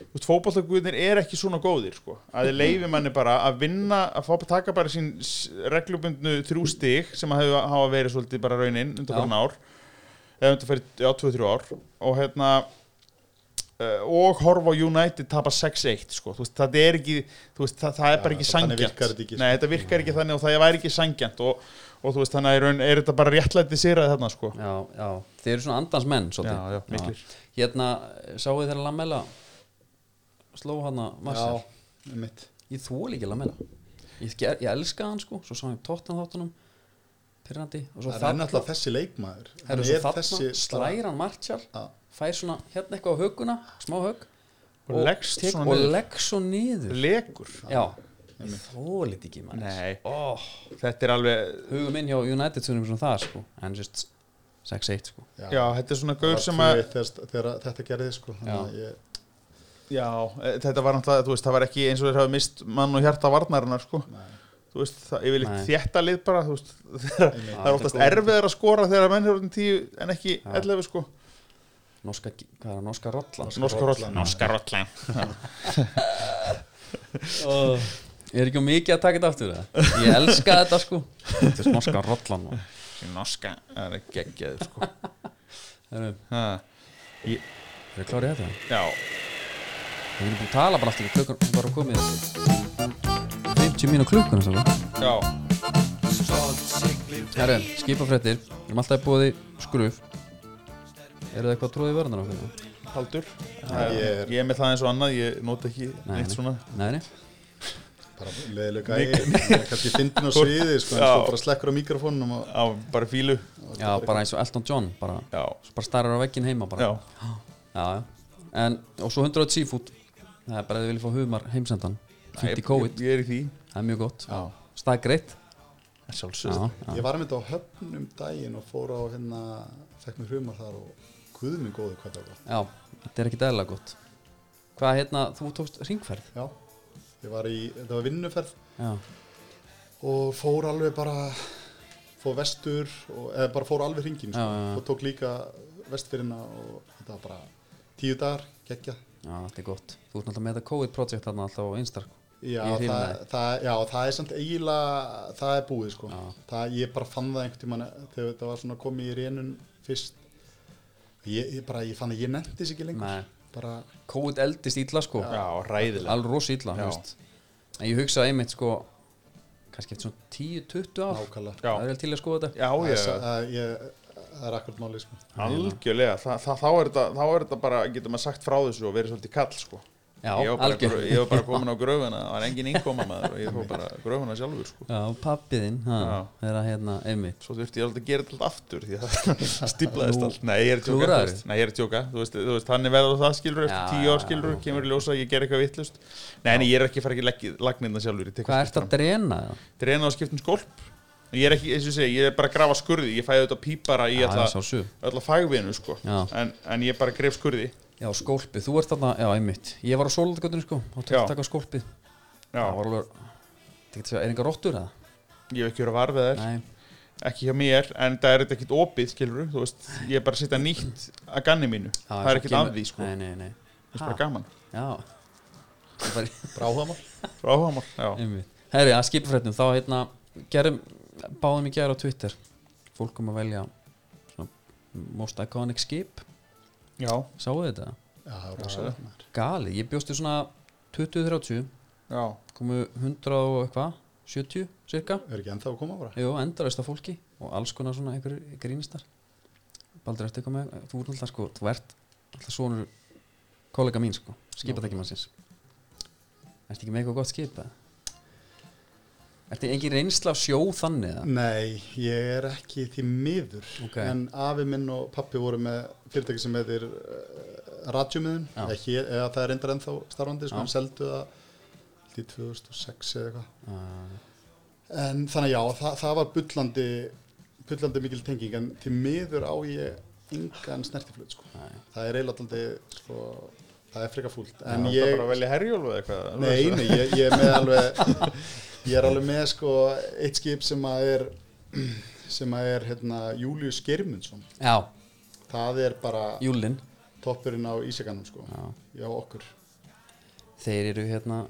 þú veist, fótballtökuðinir er ekki svona góðir sko, að þið leifi manni bara að vinna að fá að taka bara sín s- reglubundnu þrjú stig sem að hafa, hafa verið svolítið bara raunin undan fyrir ár eða undan fyrir, já, 2-3 ár og hérna eh, og horfa á United tapa 6-1 sko. Þú veist, það er ekki þú veist, það, það er
Já,
bara ekki
það- þannig
sangjant
virkar þetta ekki, sko.
Nei, þetta virkar ekki þannig og það væri ekki sangjant og, og þú veist, þannig að í raun er þetta bara réttlætti sýrað þarna sko.
já, já, þeir eru svona andans menn svolítið.
Já, já, miklir.
hérna, sáu þeirra Lamella sló hana Marcel
Já, mitt.
ég þól ekki Lamella ég, ger, ég elska hann sko, svo sá ég tóttan þáttunum pyrrandi og svo
Það er náttúrulega þessi leikmaður.
Herru,
Hann
svo
er
þarna,
þessi-
slægir hann Martial
Já.
fær svona hérna eitthvað á högguna smá högg
Og leggst
tek-
svona
og
niður.
leggst svo niður
legur
Já, ég þólit ekki maður
Nei.
oh,
þetta er alveg
Hugum inn hjá United sem svona það sko En sérst 6-1 sko
já. þetta er svona
það
gaur
var
sem að
2-1 þegar, þegar þetta gerði sko. þannig
Já.
að ég-
já, eh, þetta var náttúrulega, þú veist, það var ekki eins og þeir hafa mist mann og hjarta varnarinnar sko.
Nei.
þú veist, það er yfirleitt
Nei.
þétta lið bara, þú veist, þeirra,
Einmitt.
Ah.
það er oftast erfiðar að skora þegar menn er orðin tíu en ekki 11 sko
Norska, hvað er það, norska rollan
Norska rollan
Norska
rollan
oh. Ég er ekki á mikið að taka þetta aftur það Ég elska þetta sko Þetta er norska rollan maður.
Norska, það er geggjað sko.
Herru,
Ha, ég-
Eru þið klárið í þetta?
Já,
Við erum búin að tala bara aftur Klukkan er bara komið 50 mínu klukkuna svo
já,
Herru, skipafréttir Við erum alltaf búið í skruf Eru það eitthvað tróðið verðan á hvernig?
haldur
ég er-
Ég er með það eins og annað, ég nota ekki
Nei,
neitt svona
Nei, nei
bara leiðileg gæði kannski fyndin á sviði sko, en
Já.
svo bara slekkur á mikrofónum og
á bara fílu
Já, bara eins og Elton John bara
Já,
svo bara starrar á veggin heima bara
já,
já, já. En, og svo 100 seafood það er bara að þið vilja fá humar heimsendan fínt í
ég,
COVID,
ég er í því
það er mjög gott
Já,
stað greitt já,
sjálfsögð
já.
ég var með þetta á höfn um daginn og fór á hérna fekk mér hrumar þar og guðminn góði hvað það var gott.
já, þetta er ekki dæla gott hvað hérna, þú tókst ringferð
já, ég var í, þetta var vinnuferð
já,
og fór alveg bara fór vestur og, eða bara fór alveg hringin sko.
Já, já, já.
og tók líka vestfyrina og þetta var bara tíu dagar, geggja
Já, þetta er gott. Þú ert náttúrulega með þetta COVID-projekt þarna alltaf á sko. Instark.
Já,
Ég hrifin
það,
það.
það, já, það er samt eiginlega, það er búið sko.
Já.
það, ég bara fann það einhvern tímann eh, þegar þetta var svona komið í reynun fyrst ég, ég bara, ég fann að ég nefndi þess ekki lengur
Nei.
bara,
COVID eldist illa sko.
Já, ræðilega
Alveg rosa illa,
Já.
þú veist. En ég hugsaði einmitt sko, kannski eftir svona 10-20 ár.
nákvæmlega
Það er
Já,
vel til að skoða þetta.
já,
það, er,
já,
sa- það, ég, það er akkurat máli sko.
algjörlega Þa, það, þá, er þetta, þá er þetta bara, getur maður sagt frá þessu og verið svolítið kall sko
Já,
ég, var bara,
algjör.
ég var
*laughs*
bara komin á gröfuna það var engin innkoma maður og ég fór bara gröfuna sjálfur sko.
Já, pappiðinn, það
Já.
er að hérna, einmitt.
svo þurfti ég alltaf að gera þetta allt aftur því að *laughs* það stíplaðist allt nei, ég er að tjóka, þú
klúðraðir.
veist, nei, ég er að tjóka þú veist, þú veist, þannig verður það skilur eftir
Já,
tíu ár
já,
skilur, kemur í ljósa, ég ger eitthvað vittlust nei, en ég er ekki að fara ekki legg, lagnirna sjálfur ég tek
Hvað
allt
ert að
fram.
drena það?
Drena og skiptum skólp ég er ekki, eins og ég segi, ég er bara að grafa skurði ég fæði auðvitað pípara í
Já,
alla,
sá sum.
alla fagvinu sko.
Já.
en, en ég bara gref skurði
Já, skólpið, þú ert þarna, já, einmitt. Ég var á sólaldaköndinu sko, þá tók
Já.
að taka skólpið.
já,
Það var alveg, það getur að segja, er einhver róttur það?
ég hef ekki verið að varfið þær
Nei,
ekki hjá mér, en það er þetta ekkit opið skilur, þú veist, ég er bara að setja nýtt að ganni mínu,
Já,
það er
svo
ekkit að
kemur-
því sko,
Nei, nei, nei.
það er bara gaman
Já. Það var
bráðamál
frá áhugamál, já,
einmitt. Herri, að skipafréttum, þá hérna, gerum, báðum í gera á Twitter. Fólk kom að velja svona, most iconic skip,
já,
sáu þetta?
já, það er rosalega maður.
Galið, ég bjóst í svona 20-30,
já.
komu 100 og eitthvað, 70 cirka.
er ekki ennþá að koma bara
Jú, endalaust af fólki og alls konar svona einhverju grínistar Baldur, ertu eitthvað með, þú ert alltaf sko þú ert alltaf svonur kollega mín sko, skipatekjumannsins Ertu ekki með eitthvað gott skipa? Ertu engin reynsla af sjó þannig eða?
Nei, ég er ekki því miður
Ok.
en afi minn og pappi voru með fyrirtæki sem heitir uh, Radjumiðun,
Já.
eða, hér- eða það er reyndar ennþá starfandi,
Já.
sko, en seldu það til 2006 eða eitthvað
Uh,
En þannig að já, það, það var bullandi, bullandi mikil tenging en til miður á ég engan snertiflut sko.
Nei.
Það er eiginlega alltaf sko, það er freka fúlt.
En
En
ég...
ég,
bara að velja herjólf eða eitthvað
nei, nei, ég, ég er
*laughs*
með alveg, ég er alveg með sko eitt skip sem að er, sem að er hérna Július Geirmundsson.
já,
Það er bara
Júlin
toppurinn á Ísjaganum sko,
já.
já okkur.
Þeir eru hérna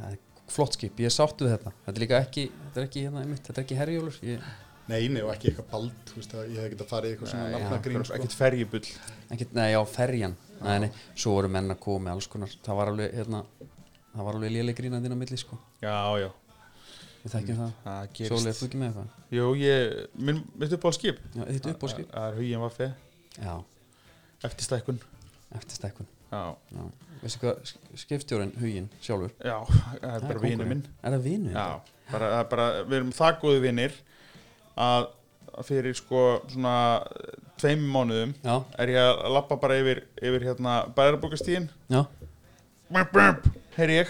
það er flott skip, ég er sátt við þetta Þetta er líka ekki, þetta er ekki hérna einmitt, þetta er ekki herjólur ég,
Nei, nei og ekki eitthvað bald, þú veist að ég hef getað farið í eitthvað svona
Nei, já,
nafnagrín sko.
ekkert ferjubull
Ekkert, nei, já, ferjan nei, nei, Svo voru menn að koma með alls konar Það var alveg, hérna Það var alveg léleg grínandinn á milli, sko
já, já,
Við þekkjum það
það
Sjóli,
Mm, gerist
er þú ekki með eitthvað?
jú, ég, minn, mitt upp á skip
Já, þitt upp á skip
það er hugin vaffi,
Já,
eftir stækkun
eftir stekkun
já,
Já, veistu hvað, sk- skipstjórinn, huginn, sjálfur
já, það er bara
kóngurinn.
vinur minn
Er það vinu?
Já, bara, það er bara, við erum það góði vinnir að að fyrir sko svona eh, tveim mánuðum
Já,
er ég að lappa bara yfir, yfir hérna bæðarbókastíðin
já,
heyri ég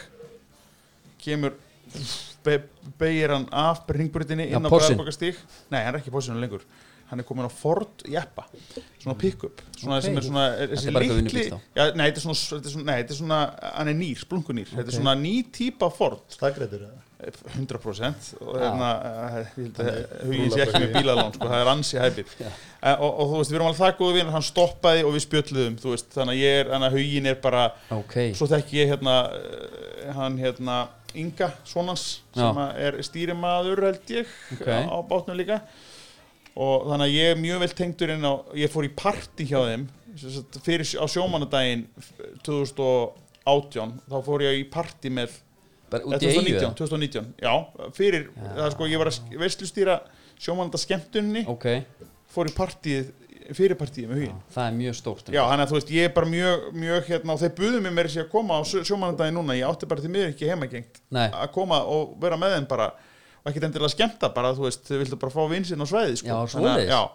kemur be, beigir hann af ringbrutinu
Já,
inn á
porsinn.
bæðarbókastíð nei, hann er ekki pósinu lengur hann er komin á Ford jeppa svona pick-up svona
Ok.
sem er svona er,
Þetta
þessi
er bara
litli-
eitthvað vinnubíll þá.
Já, nei, þetta er svona, þetta er svona, nei, þetta er svona hann er nýr, splunkunýr þetta
Ok.
er svona ný típa Ford
Stakkrættur eða?
100% og
Já.
hérna, eh, ég held að hugin sé
brúla
ekki með
bara í-
bílalán sko, það er ansi hæpið
Já.
Eh, og, og þú veist, við erum alveg það góðu vinur, hann stoppaði og við spjölluðum, þú veist, þannig að ég er þannig að hugin er bara,
ok
svo þekki ég hérna eh, hann hérna Inga, sonans,
Já.
sem að er stýrimaður held ég,
Ok.
á, á bátnum líka og þannig að ég er mjög vel tengdur inn á, ég fór í party hjá þeim sem sagt, fyrir á sjómanadaginn 2018 þá fór ég í party með
Bara
Eh,
út í eigu
2019, 2019, já, fyrir
Já.
það er sko, ég var að veistlustýra sjómananda skemmtunni,
Ok,
fór í partíð fyrir partíð með hugin
það er mjög stórt
já, hann að þú veist, ég er bara mjög, mjög hérna og þeir buðu mér mér sér að koma á sjómanandagi núna ég átti bara til miður ekki heimagengt
Nei,
að koma og vera með þeim bara og ekkert endilega skemmta bara, þú veist, þau vildu bara fá vinsinn á svæði, sko
Já,
þannig,
svoleiðis.
að- já,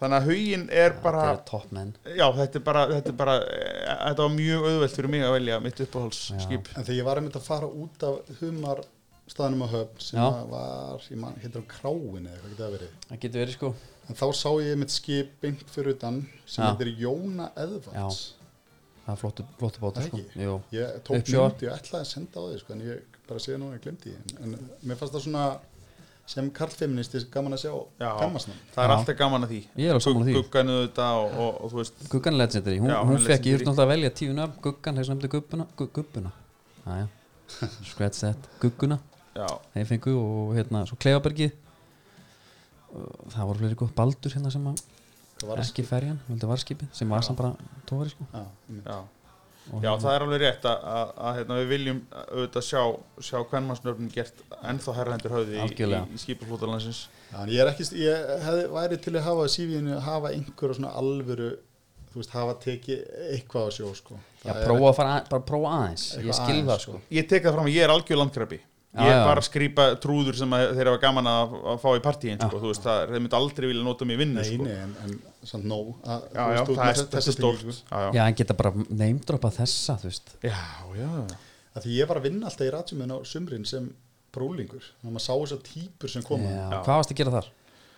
þannig að hugin er bara
þetta er topp menn
já, þetta er bara, þetta er bara eh, þetta var mjög auðvelt fyrir mig að velja mitt uppáhaldsskip
En þegar ég var einmitt að fara út af humar staðnum á höfn sem
Já.
að var, ég man, heitir hann Kráin eða hvað getur það verið.
Það getur verið sko
En þá sá ég einmitt skip beint fyrir utan sem
Já.
heitir Jóna Eðvalds.
Það er flottu, flottu bátur
Það
sko
ekki?
Jú,
Ég tók
Uppsjóar.
mynd, ég ætlaði að senda á þig sko, en ég bara séð núna að ég glemdi því. En mér fannst það svona, sem karlfeminist er gaman að sjá
Já.
kammasnum
það er
Já.
alltaf gaman að því
Ég er á sammála því.
Gugganu þetta og, og, og þú veist
Guggan Legendary, hún,
Já,
hún
hún er
fekk, ég
legendary.
þurfti alltaf að velja tíu nöfn Guggan, þess nefndi gubbuna gu- Gubbuna, aðja
*laughs*
Scratch that, Gugguna,
Já,
þeir fengu og hérna, svo Klefabergi Það voru fleiri góð Baldur hérna sem að
Hvað var það?
ekki ferjan, vildi varskipið sem var samt bara tóri sko
Já, einmitt.
já
og hérna-
Já, það er alveg rétt að, að, að hérna, við viljum að, auðvitað sjá, sjá kvenmannsnöfnin gert ennþá herrendur höfði í,
Algjörlega.
í skipaflótalansins.
Já, en ég er ekki, ég hefði, væri til að hafa sífiðinu, hafa einhverja svona alvöru þú veist, hafa tekið eitthvað á sjó sko.
Já,
Það er
prófa að fara, að- bara prófa aðeins
eitthvað
Ég skil
aðeins,
það sko
Ég tek það fram að ég er algjör landkrabbi.
Já,
Ég er
já.
bara að skrýpa trúður sem að þeir hafa gaman að, að fá í partíin, sko, þú veist, það, þeir myndi aldrei vilja nota mig í vinnu,
Nei,
sko.
nei, en, en samt nóg að,
Já,
þú
já,
veist, þú ert
það er,
með þessa
þetta er stórt. Já,
tengingu.
já.
sko. Já, en geta bara neymdropa þessa, þú veist
Já, já.
að því ég var að vinna alltaf í rætjuminn á sumrin sem brólingur þannig að maður sá þessar típur sem koma
Já,
Já.
Hvað varst að gera þar?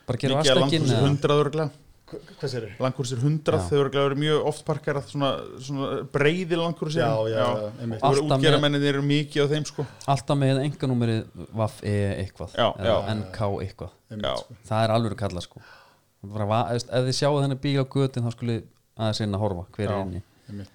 Bara gera
Mikið að
vastakinn
langkursir hundrað örglega.
Hva- hvað sér þau?
Langkursir hundrað,
Já.
þau örglega eru mjög oft parkerað svona, svona breyði langkursir.
Já, já, já, einmitt.
Þú
Alltaf með-
útgerðarmennirnir eru mikið á þeim, sko.
Alltaf með enganúmerið vaff e eitthvað
Já,
eða
já.
NK eitthvað
Já,
Það er alveg kalla sko bara, va- þú veist, Ef þið sjáu þenni bíl á götin þá skulle aðeins reyna að horfa hver
Já.
er inni
einmitt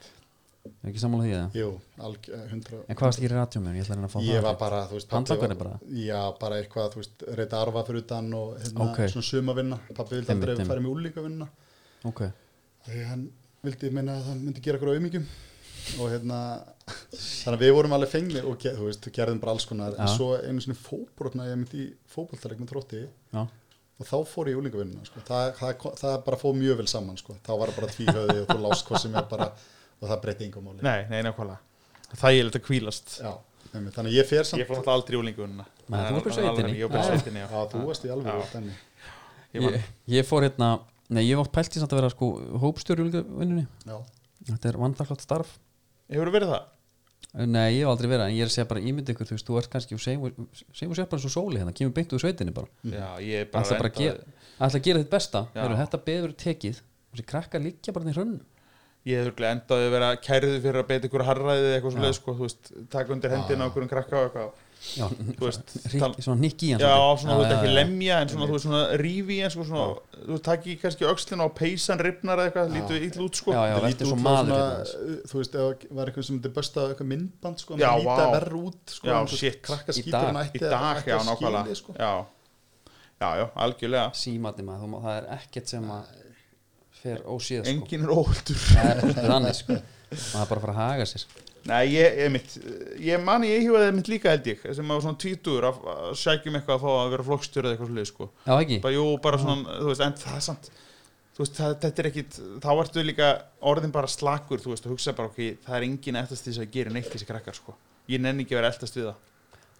Er ekki sammála því það?
Jú, alg, eh, hundra
En hvað varst ekki í radjómið? Ég ætla að reyna að fá
Ég
það
var bara, þú veist pabbi
Handtakarnir
var-
bara?
Já, bara eitthvað, þú veist, reyta arfa fyrir utan og hérna,
Ókei.
svona sumavinna Pappi vildi
Einmitt,
aldrei
einmitt.
fara með úlíkavinna
Ok
Þegar hann vildi meina að það myndi gera okkur auðmyggjum og hérna *laughs* þannig að við vorum alveg fengnir og ge- þú veist, gerðum bara alls konar en
Já.
svo einu sinni fóbrotna ég myndi í fótboltaleg með trótti
Já.
og þá fór ég í úlingavinnuna sko. það, það, það, bara fóð mjög vel saman sko. þá var það bara tvíhöði og þú lást hvað sem er bara og það breytti yngum máli
nei, nei, nákvæmlega. Það er að kvílast.
Já, einmitt. þannig að ég fer
Ég
samt
fór náttúrulega aldrei í úlingununa
Nei, þú varst bara í sveitinni.
Ég var bara í
Já.
sveitinni, já
Já, þú varst í alveg
Já.
úr þenni
Ég
ég,
man-
ég fór hérna Nei, ég hef átt pælt í samt að vera sko hópstjóri vinnunni
Já,
Þetta er vandaklart starf
Hefur þú verið það?
Nei, ég hef aldrei verið en ég er að segja bara ímynd ykkur þú veist, þú ert kannski sem og sér bara svo sóli hérna kemur beint úr sveitinni bara
Já, ég er bara
ætla bara að
enda-
gera, ætla að gera þitt besta
Já.
Heru, þetta beður tekið og þessi krakka liggja bara hérna í hrönn
Ég hef örugglega endaði að vera kærðu fyrir að beita ykkur harraðið eða eitthvað svo leið sko, þú veist, taka undir hendina á einhverjum krakka og eitthvað,
já,
*laughs* þú
*laughs*
veist tal-
rík, svona nikk Ah. í hann
Já,
svolítið.
svona þú veit ekki
já, já.
lemja en svona þú veist svona rífi en sko svona, þú takki kannski öxlina og peysan ripnar eða eitthvað, lítu ítl út sko
já, já,
Það
þetta
lítur
er svo
út frá
maður hérna,
svona, eh, Þú veist, ef það var eitthvað sem myndi besta eitthvað myndband, sko,
Já,
það líta
vá.
verð út, sko,
Já,
en þú veist,
shit.
krakka
Í
skýtur hann
Í
dag.
ætti að-
dag,
ætti
já,
að
nákvæmlega
skilið, sko.
Já, já, já, algjörlega
símatni maður, þú má- það er ekkert sem að fer ósíða sko.
Engin er óhultur
það er svolítið þannig sko. maður er bara að fara að haga sér
Nei, ég, ég mitt, ég mani ég hjóðaði mitt líka held ég, sem að var svona tvítur að að sækjum eitthvað að fá að vera flokkstjóri eða eitthvað svolítið, sko.
já ekki,
Bara, jú, bara svona, þú veist, en það er samt, þú veist, það, þetta er ekkit, þá ertu líka orðin bara slakur, þú veist, og hugsa bara, ok, það er engin eftast því sem gerir neitt þessi krakkar, sko. Ég nenni ekki að vera eftast við það.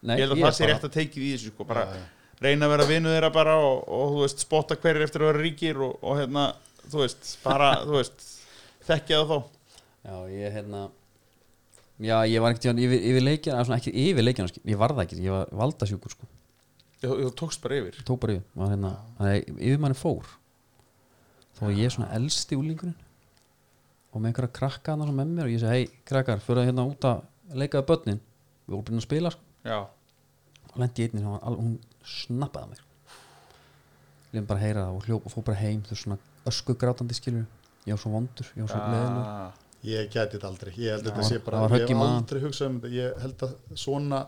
Nei,
ég held að það sé
bara-
rétt að teikið í þessu, sko, bara
Já,
reyna að vera vinnu þeirra bara og, og, þú veist, spotta hverjir eftir að vera ríkir og, og hérna, þú veist, bara, þú veist, þekkja það þá.
Já, ég hérna Já, ég var ekkert tíðan yfir, yfir leikjana eða svona ekki yfir leikjana, skil- ég var það ekki ég var valdasjúkur, sko,
Þú þú tókst bara yfir.
tók bara yfir var, hérna, þannig, að yfir manni fór þá var ég svona elsti úlingurinn og með einhverja krakka hann með mér og ég segi, hei, krakkar, fyrir hérna út að leikaða börnin, við vorum byrjum að spila sko.
Já,
og lendi einnig, hún, al, hún snappaði að mér lefum bara að heyra það og hljóp og fór bara heim, þú veist, svona öskugrátandi skilur, ég var svo vondur ég var svo leðilegur
Ah.
Ég gæti þetta aldrei, ég held að þetta
Já,
sé bara,
það var
ég
högg í
hef
magann.
aldrei hugsað um þetta, ég held að svona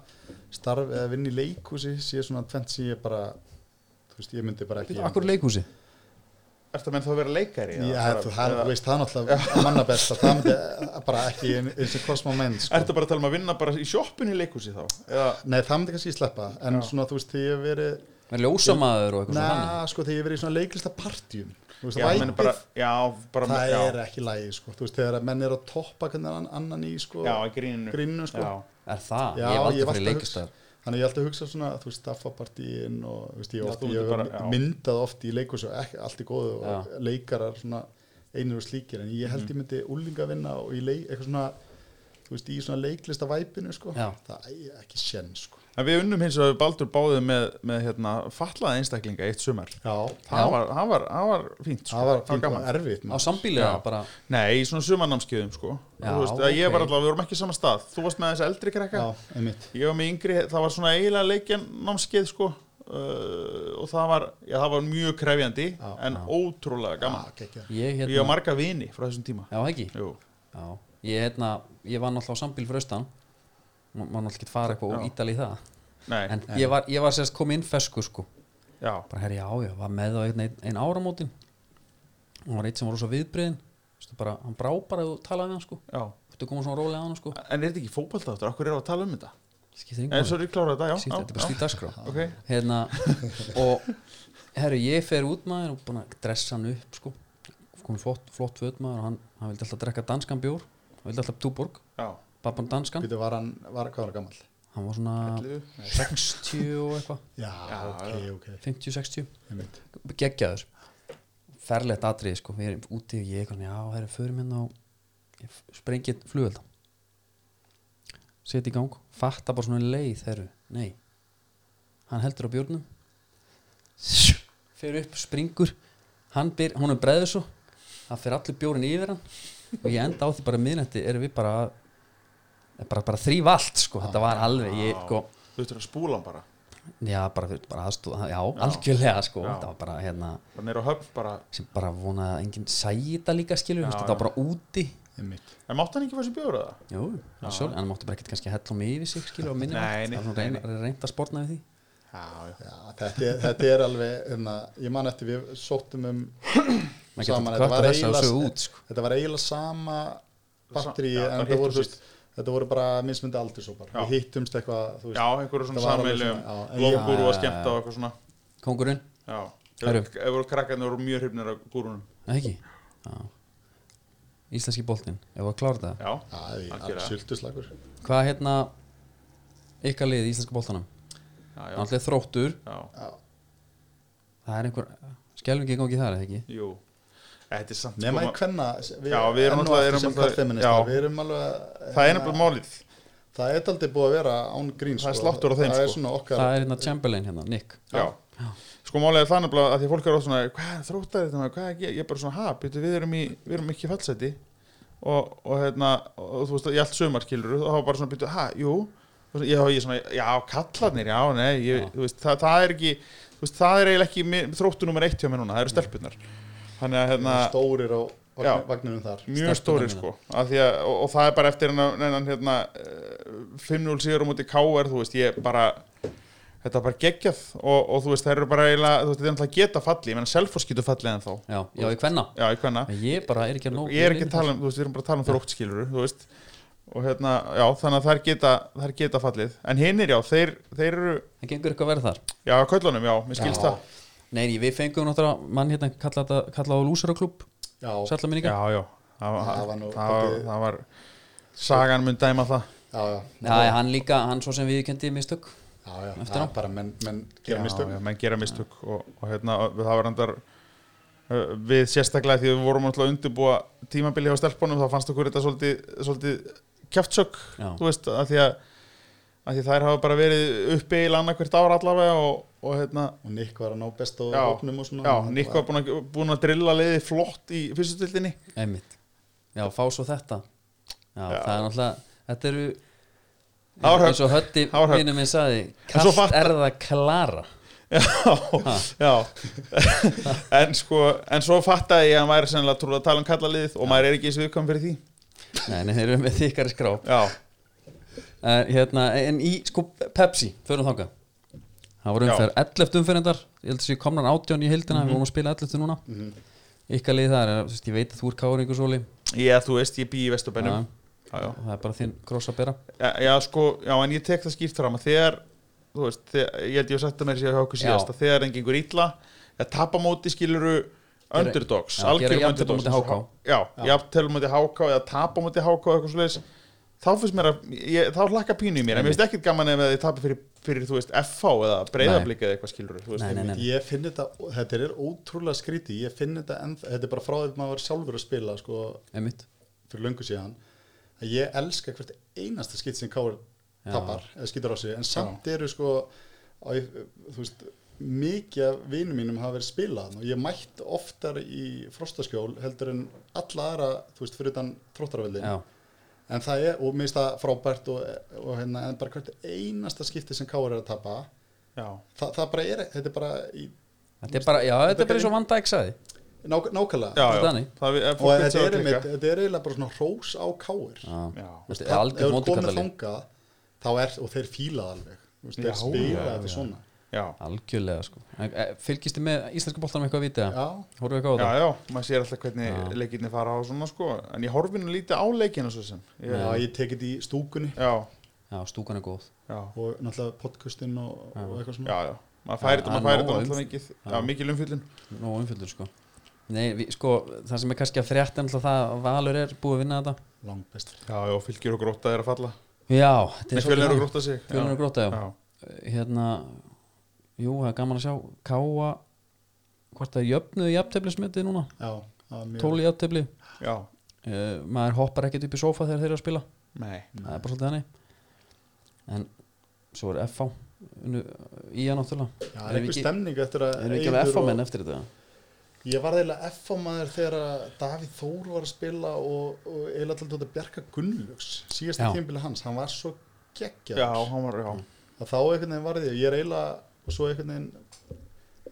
starf eða vinna í leikhúsi sé svona tvent sem ég bara, þú veist, ég myndi bara ekki.
Akkur leikhúsi?
Ertu að menn þá að vera leikari?
Já,
eða bara-
þú það- þú veist, það er náttúrulega manna best að það myndi eh, bara ekki eins og kosma menn, sko.
Ertu bara að tala um að vinna bara í sjoppunni í leikhúsi þá? Eða,
Nei, það myndi kannski sleppa, en svona, þú veist, þegar ég hef verið,
Með ljósamaður og eitthvað svona þannig?
Næ, sko, þegar ég hef verið í svona leiklistapartjum Þú veist,
já, ég meina
væpið,
bara, já, bara
það
já,
er ekki lægi, sko Þú veist, þegar að menn eru að toppa hvernig annan, annan í, sko
Já, í gríninu
Gríninu, sko
Já,
Er það? ég
Já,
hef aldrei fyrir
ég hef alltaf
leikastar
Þannig ég hef alltaf hugsað svona, þú veist, staffapartíin og, þú veist, ég,
Já,
oft,
þú
ég
myndir
hef
bara- já.
myndað oft í leikus og ekki, allt í góðu og
Já.
leikarar svona einir og slíkir, en ég held ég myndi úlingavinna og í leik, eitthvað svona þú veist, í svona leiklistavæpinu, sko
Já.
það er ekki sjenn, sko
En við unnum hins að Baldur báðið með, með hérna, fatlaða einstaklinga eitt sumar
Já,
Það var, það var, það var fínt, sko.
það var fínt og
gaman
erfitt
Á
maður.
sambíli
Já.
eða bara
Nei, í svona sumarnámskeiðum, sko
Já,
Þú veist, að ég var
ok.
allavega, við vorum ekki í sama stað Þú varst með þessi eldri krakka
Já, einmitt
Ég var með yngri, það var svona eiginlega leikjarnámskeið, sko uh, og það var, já, það var mjög krefjandi
Já,
en ótrúlega gaman
Ah, geggjað.
Ég
ég á
hérna
marga vini frá þessum tíma
Já, ekki
Jú.
Já Ég hérna Ég var náttúrulega á sambíl fyrir austan Má má náttúrulega ekki fara eitthvað og
Já.
ítali í það
Nei,
En ég var, ég var sérst komið inn fesku sko
já,
bara herri, já, já, var með á einn, einn, einn áramótin og það var eitt sem var rosa viðbriðin Vistu, bara, hann brá bara að þú talaði við hann sko
já
Þú komum svona rólega að hann sko
en er þetta ekki fótballtáttur, okkur er að tala um þetta
Skiptir
en
yngur
svo er ég klárað þetta, Eh, já,
Sýtt, þetta er bara
já,
slíkt dagskrá
já. *laughs* ok,
hérna, og herru, ég fer út maður og búin að dressa hann upp sko komið flott, flott föt maður og hann, hann vildi alltaf drekka danskan bjór hann vildi alltaf túborg,
já,
pappan danskan
Býtu, var hann, var, hvað var hann gammal?
hann var svona
Ellefu?
60 og eitthvað
Já, ok, ok
50-60
einmitt.
geggjaður ferlegt atrið sko, við erum úti og ég eitthvað, já, það er förum hérna og ég sprengi flugvelda set í gang fatta bara svona leið, herru, nei hann heldur á bjórnum fer upp, springur hann byr, hún er breður svo það fer allir bjórin yfir hann og ég enda á því bara miðnætti erum við bara er bara, bara þrýf allt sko, þetta var alveg ég, sko,
þú veist að spúla hann bara
já, bara, bara aðstóð, já, algjörlega sko,
Já.
þetta var bara hérna
hann er á höfn bara,
sem bara vonaði að enginn sæi þetta líka skilur,
Já,
þetta var bara úti
einmitt
en mátt hann ekki fá sér bjóður að það?
Jú, sjálf, en hann mátti bara ekkert kannski hella um yfir sig skilur og minni
Nei, nei,
það var
nei,
reynd, reynd að sportna við því
Já, já,
Já, þetta, er, þetta er alveg hérna, ég man eftir við sóttum um
*clears throat* maður
Saman,
getur
þetta
kvarta þess
var
að
eiginlega-
þessu út sko.
þetta var eiginlega sama batteri
Já,
en
bara
þetta
hitt og
voru, þú veist, þetta voru bara mismyndi aldur svo bara,
Já.
við hittumst eitthvað þú veist,
já einhverju svona
þetta var alveg
sammeilum
svona, já, en ég-
lóðgúru að
Já,
skemmta og eitthvað svona
kongurinn,
já,
Herru.
ef voru krakkarnir voru mjög hrifnir af gúrunum
eða ekki Já. Íslenski boltinn, ef við að klára þetta
já,
Já, það er
Algjörlega.
alveg sultuslagur
hvað hérna ykkar lið í Íslenska boltanum
já, já,
náttúrulega þróttur,
já,
það er einhver skjálfingi í gangi þar, eða ekki
jú þetta er samt
nema
sko,
í hvenna
Já, við erum náttúrulega- erum
sem
náttúrulega-
kallfeministar,
já.
við erum alveg hérna,
það er nefnilega málið
það er aldrei búið að vera án grín
Það er sláttur á þeim,
það er
sko.
svona okkar
það er hérna Chamberlain hérna, Nick
já. sko málið er það nefnilega að því að fólk er oft svona hvað er þróttar þetta, maður? hvað er ekki, ég er bara svona ha, býtu, við erum, í, við erum ekki í fallseti og, og hérna, og þú veist í allt sömar skilur, þá var bara svona býtu, ha, jú Og svona- ég, ég svona, já, kallarnir, já, nei ég,
Já.
þú veist, það, það er ekki þú veist, það er eiginlega ekki mi- þróttu nummer eitt hjá mér núna, það eru stelpunar þannig að hérna,
stórir á
Já.
vagn- vagninum þar
mjög
stelpurnar
stóri sko að að, og, og það er bara eftir hennan, hennan hérna, 5-0 sigur á móti KR þú veist, ég bara þetta er bara geggjað og, og þú veist, það eru bara eiginlega, þú veist, þetta er náttúrulega geta falli ég menna Selfoss getur fallið en þá
já, já, í hvenna,
já, ég hvenna,
ég bara er ekki að nóg
ég er ekki að tala um, þú veist, við erum bara að tala um þróttskiluru, þú veist og hérna, já, þannig að þær geta þær geta fallið, en hinnir já, þeir þeir eru,
það gengur eitthvað verð þar
já, köllunum, já, mér skilst það
Nei, nei, við fengum náttúrulega mann hérna kalla, þetta- kalla á lúsaraklúb
já, já,
Sætla minninga
já, já, það var
Það
það
var
var,
nú
það var,
dálítið-
sagan mun dæma það
já,
Já, hann líka, hann svo sem við kendi mistök
já, já,
Eftir
það
á.
er bara menn, menn gera
Já,
mistök
já, menn gera mistök og, og hérna, og það var endar við sérstaklega því við vorum alltaf að undirbúa tímabili hjá stelpunum þá fannst okkur þetta svolítið, svolítið kjaftsök,
Já.
þú veist, að því að að því þær hafa bara verið uppi í landa hvert ára allavega og, og hérna
og Nick var að ná best á
já,
hópnum og svona
já, Nikko var búin að, búin að drilla liðið flott í fyrstutildinni
Einmitt Já, fá svo þetta Já,
Já.
það er náttúrulega Þetta eru
Árhöfn.
Eins og Hötti
Árhöfn.
vinnum minn saði
svo
Kast
fatta-
er það klara
*laughs* já, já. *laughs* en sko, en svo fattaði ég að maður er sennilega trúið að tala um kalla liðið og maður er ekki eins viðkvæm fyrir því
Nei, nei, þeir eru með þykkari skrá
já,
en, hérna, en í, sko, Pepsi Förum þangað Það voru
Já. Mhm.
umferð 11 umferðindar Ég held að séu komnar 18 í heildina Við vorum að spila 11 núna Ykkar lið þar, er, þú veist, ég veit að þú er káringur sóli
ég, þú veist, ég bý í Vesturbænum Já, já.
Það er bara þinn gross að bera
Já, já, sko, já, en ég tek það skýrt fram að þegar, þú veist, þegar, ég held ég að setja mér sér hjá okkur
Já.
síðast að þegar enn gengur illa, að tapamóti skiluru underdogs,
já,
algjörum
gera jafntefli
underdogs
á móti HK.
Já, jafnteflum mútið háká eða tapamóti háká eða eitthvað svoleiðis þá finnst mér að, ég, þá hlakka pínu í mér en mér finnst ekkit gaman ef þið tapir fyrir, fyrir, þú veist, FH eða breyðablík eða eitthvað skiluru þú veist,
Nei, nei, nei.
ég finn þetta, þetta er ótrúlega skríti ég finn þetta, en, þetta er bara frá því að maður var sjálfur að spila sko,
Einmitt
fyrir löngu síðan að ég elska hvert einasta skýt sem Káur
Já.
tapar, eða skýtur á sig en samt eru sko á, ég- þú veist, mikið af vinum mínum hafa verið spilað og ég mætt oftar í frostaskjól heldur en alla aðra, þú veist, fyrir utan þróttarveldin
Já,
en það er, og mér finnst það frábært og, og hérna, en bara hvert einasta skipti sem Káur er að tapa
já,
Þa, það bara er, þetta er bara í,
Þetta er bara, já, þetta er bara eins og Van Dijk sagði
nák, nákvæmlega
já,
Það er
já.
þannig.
Það er
og
fólk
þetta
að
er,
klika.
einmitt, þetta er eiginlega bara svona hrós á káir
Já,
Já.
þetta er
ef þú
algjör
ert komið
mótikallalið
þangað þá er, og þeir fílað alveg Þú
Já,
veist, þeir
já,
spila þetta
já.
svona
Já,
Algjörlega, sko En, eh, Fylgistu með íslenska boltanum eitthvað að vita?
já,
Hóruðu eitthvað á
já,
það?
já, maður sér alltaf hvernig
Já.
leikinni fara á svona sko En ég horfi nú lítið á leikina svo sem ég,
já, ég tekið í stúkunni
Já,
Já, stúkan er góð
já,
og náttúrulega podcastinn og,
Já.
og eitthvað svona
já, já Maður færi þetta,
Já,
maður færi
nóg
þetta
um-
alltaf mikið Já,
Já.
mikil umfyllun
Nó umfjöldur, sko Nei, vi, sko, það sem er kannski að frétta er náttúrulega það að Valur er búið að vinna þetta
langt best fyrir
Já, já, fylgjur og gróta er að falla
Já, þetta
Nei,
er
fjölnir og
þannig.
gróta sig
Fjölnir og gróta, já
já
hérna jú, það er gaman að sjá Káa hvort það er jöfnuð í jafnteflismetið núna
já, það var mjög-
12 í jafntefli
Já, já,
uh, maður hoppar ekkert upp í sófa þegar þeir eru að spila
nei
það er bara svolítið hannig en svo er FH unnu, í að náttúrulega
já,
Erum
það er
við
einhver
ekki-
stemning eftir að
erum við ekki
Eiður
alveg
og-
FH menn eftir þetta
Ég var eiginlega F.A. maður þegar að Davíð Þór var að spila og, og eiginlega alltaf þetta Bjarka Gunnlaugs síðasta
Já.
tímbili hans, hann var svo geggjaður
Já, hann var, já
að þá einhvern veginn var ég, ég er eiginlega og svo einhvern veginn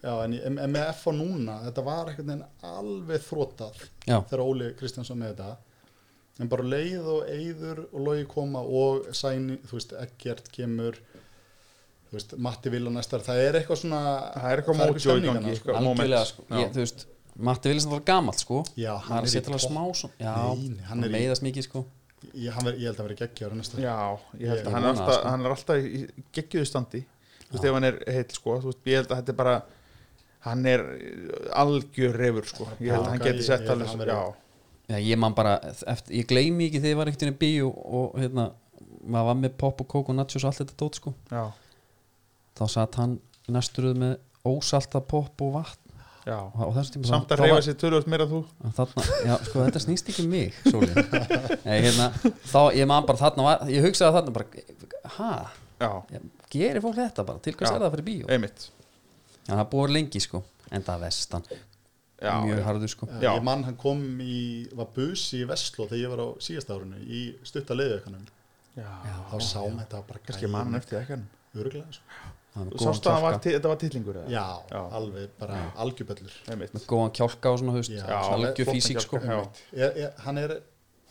já, en, ég, en- en með F.A. núna, þetta var einhvern veginn alveg þrótað
já,
þegar Óli Kristjánsson með þetta en bara leið og eyður og logi koma og sæni, þú veist, Eggert kemur þú veist, Matti Villa næstar, það er eitthvað svona
Það er eitthvað
einhver
mojo í
stemning
gangi,
þarna,
sko. moment.
algjörlega sko.
Já.
ég, þú veist, Matti Vilsson var gamall sko
Já,
hann er að
í
setja alveg
topp.
smá svona- já,
Nei, nei, hann
hann
er í-
meiðast mikið sko
Ég, hann ver, ég held að vera geggjaður næsta
Já, ég held
Ég-
að hann
ég
er
vona
alltaf,
það, sko.
hann er alltaf í geggjuðu standi Þú veist, ef hann er heill, sko Þú veist, ég held að þetta er bara Hann er algjör refur, sko Ég held að hann
Já,
geti
ég-
sett
ég held að
alveg
hann verði-
Já,
Já, ég man bara, eftir, ég gleymi ekki þegar ég var einhvern veginn í bíu og hérna, maður var með pop og kók og nachos og allt þetta dót sko.
já,
Þá satt hann næsturuð með ósalta pop og vatn
já
og, og þessum tíma
Samt
þá-
að
þá
reyfa
var-
sér tölvöld meira en þú
en Þarna, já, sko, þetta snýst ekki um mig, Sólín. Nei, hérna, þá, ég man bara þarna var, ég hugsaði að þarna bara, ha,
Já,
gerir fólk þetta bara, til hvers
Já. Eh.
er það fyrir bíu?
einmitt
Já, það búið lengi sko, en það vestan,
Já,
mjög
já.
harður sko.
Já.
Eh, Ég mann hann kom í, var busi í Vestló þegar ég var á síðasta árinu í stutta leiðaukanum
Já,
þá sá hann þetta var bara
kannski mann hann eftir ekkan
öruglega sko.
Það
Þú
með góðan
sást að hann var,
kjálka,
til- þetta var tillingur eða?
já,
Já.
alveg bara algjörböllur
Einmitt.
með góðan kjálka og svona, þú veist,
Já.
svona algjör
flottan
físík sko.
kjálka, já.
er, er, hann er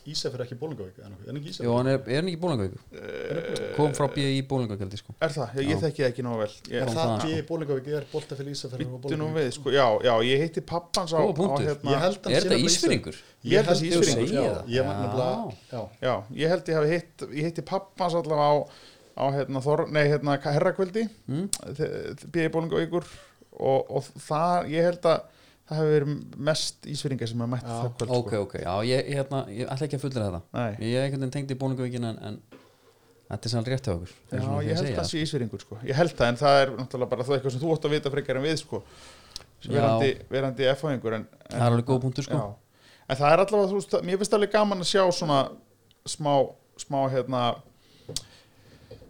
Ísafir ekki bólungavík er hann ekki- er hann ekki
Jó,
Ísafir?
hann er, er hann ekki búlingavík?
Eh.
Kom frá BÍ í búlingavík sko.
Er það? Ég, ég
Já.
þekki það ekki nóg vel
Er
Ég
kom
það
þaðan,
ekki bólungavík er boltafél Ísafir
byttu nú við, sko Já, já, ég heiti pappans á,
Góða
á
punktur.
hérna
Ég held hann
Er
sé
þetta
nefnilega
Ísfirðingur?
Ísafirðingur.
Ég held hann sé
held
Ísfirðingur.
já.
Þú segir það.
Ég var nefnilega, já,
Já, ég held ég hafi hitt Ég heiti pappans allavega á, á hérna, Þor, nei, hérna herrakvöldi
Mm.
B.I. Bólingavíkur og, og það, ég held að það hefur verið mest ísfyrringar sem að mætt
Já,
það kvöld sko.
Ok, ok, já, ég, ég, hérna, ég ætla ekki að fullera þetta
Nei.
Ég er einhvern veginn tengd í búningavíkina en, en þetta er sann rétt hjá okkur
Já, ég held það
það
sé ísfyrringur sko. Ég held það, en það er náttúrulega bara það eitthvað sem þú ótt að vita frekar en við sko. sem
Já.
verandi, verandi F-fæðingur en, en,
Það er alveg góð punktur, sko.
Já. En það er allavega, þú veist, mér finnst alveg gaman að sjá svona smá, smá hérna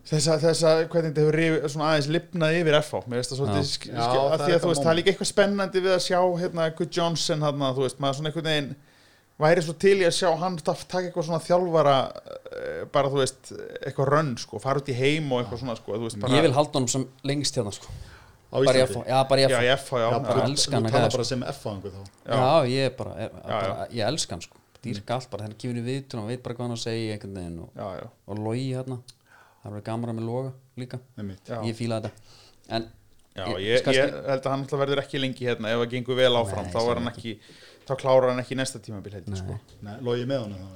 þessa, þessa hvernig þetta hefur rif, svona aðeins lipnað yfir F-fá mér finnst það svolítið,
Já.
sk-
Já,
sk- að
það
því að þú
er þetta
veist, það er líka eitthvað spennandi við að sjá hérna Good Johnson hérna, þú veist, maður svona einhvern veginn væri svo til í að sjá hann taf- taka eitthvað svona þjálfara eh, bara þú veist, eitthvað rönn sko, fara út í heim og eitthvað svona sko, þú veist, bara,
Mm. Ég vil halda honum sem lengst hérna sko.
á
Bara ég að
Íslandi
fá, já, bara
já,
ég að fá
í F-fá, já,
Já,
bara
þú-
elska hann
Þú
að
tala
gæða,
bara sem F-fangu þá
Já, ég er bara, er, bara
já.
ég elska hann sko Dýrka allt bara, hann er kifinu viðtun og veit bara hvað hann á að segja einhvern veginn og,
já, já,
og logi hérna Það er verið gamara með loga líka
Einmitt.
já.
Ég fíla þetta En
Já,
Ég-
ég,
kannski-
ég held að hann alltaf verður ekki lengi hérna ef það gengur vel áfram,
Nei,
þá er hann ekki þá klárar hann ekki næsta tímabil heldur sko.
nei,
Nei, logi með hann þá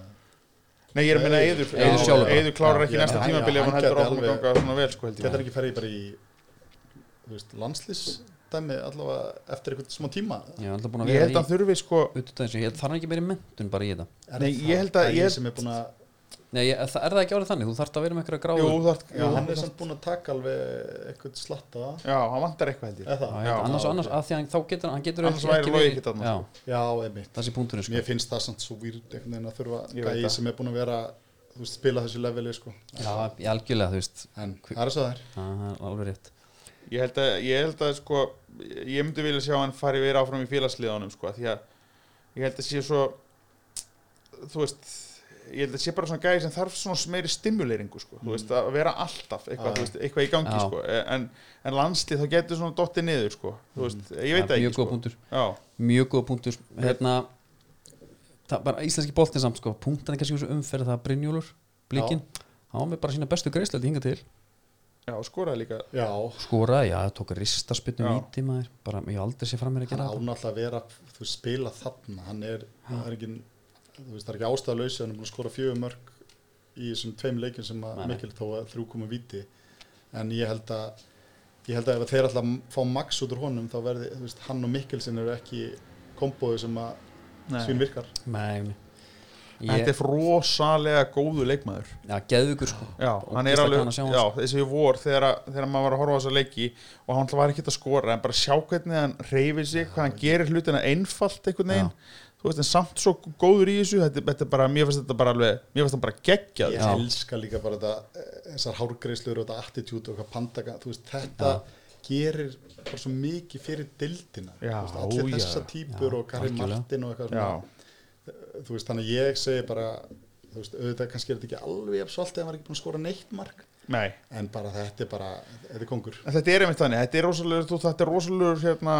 Nei, ég er að minna
Nei,
Eður,
Eiður sjálfur bara.
Eður klárar
Já,
ekki
já,
næsta
já,
tímabil
já,
ef hann
hann
heldur
gæti
áfram að
alveg-
ganga svona vel sko heldur
Getur hann
ég.
ekki ferið bara í þú veist, landslís dæmi allavega eftir einhvern smá tíma
ég er alltaf búin að
Ég
vera
held að hann
í
þurfi sko
Utan þessu, ég þarf hann ekki meiri mentun bara í þetta
Er
Nei,
það
ég held að-
það er
ég-
ég sem er búin að
Nei, ég, það er það ekki árið þannig, þú þarft að vera með einhverja gráður
Jú, það,
já, hann er
já,
samt búin að taka alveg einhvern slatta
já, hann vantar eitthvað held ég
eða
Já,
það
já, annars,
já,
annars,
ok.
að því hann, þá getur hann getur
Annars væri Logi ekki þarna, sko.
Já,
já, einmitt
það sé punkturinn sko
mér finnst það samt svo výrd einhvern veginn að
Ég
þurfa
veit
gæði
það.
sem er búin að vera þú veist, spila þessu leveli sko
Já, ég algjörlega, þú veist
en það er svo það er
Já, Það er alveg rétt
Ég held að, ég held að sko ég myndi vilja sjá hann fari verið áfram í félagsliðanum sko, því að ég held að sé svo þú veist ég held að sé bara svona gæði sem þarf svona meiri stimuleringu sko, þú veist, að vera alltaf eitthvað,
Já.
þú veist, eitthvað í gangi
Mm. Já.
sko, en, en landslið þá getur svona dotti niður sko, þú veist, ég veit
Það er
það
Mm. mjög
ekki
góð
sko.
punktur
Já,
mjög góð punktur hérna, það bara íslenski boltin samt sko, punktan er kannski úr þessu umferð það er Brynjólur, blikinn hann var með bara sína bestu greiðslöldi hinga til
já, skoraði líka
já,
skoraði, já, það tók ristaspinnu
Já.
víti maður bara, ég hef aldrei sé fram mér að
hann
gera
á
þetta
náttúrulega að vera þú veist, spila þarna, hann er það er ekki, þú veist, það er ekki ástæðalösi hann er búin að skora fjögur mörg í þessum tveim leikin sem að
Nei, nei.
mikil þó að þrjú komu viti en ég held að ég held að ef þeir alltaf fá max út úr honum þá verði, þú veist, hann og Mikkelsen eru ekki komboðu sem að svín virkar
Nei,
En Þetta
ég,
er rosalega góðu leikmaður
já, geðugur sko
Já,
Og
hann er
ógeðslega
alveg,
gaman að sjá hann.
já, þessi vor þegar, að- þegar maður var að horfa á þessa leiki og hann var ekki að skora, en bara sjá hvernig hann reyfir sig, hvað hann gerir hlutina einfalt einhvern veginn, þú veist, en samt svo góður í þessu, þetta, þetta er bara, mér finnst þetta bara alveg, mér finnst þetta bara geggjað
ég
Já.
elska líka bara þetta eh, þessar hárgreislur og þetta attitude og hvað pandaka þú veist, þetta gerir bara svo mikið fyrir dildina
Já,
allir
já.
þessa típur
Já,
og Gary
algjörlega.
Martin og eitthvað
Já,
svona þú veist, þannig að ég segi bara þú veist, auðvitað kannski er þetta ekki alveg jafn svolítið að hann var ekki búin að skora neitt mark
nei
en bara þetta er bara, þetta er kongur
En Þetta er einmitt þannig, þetta er rosalegur, þú- þetta er rosalegur hérna,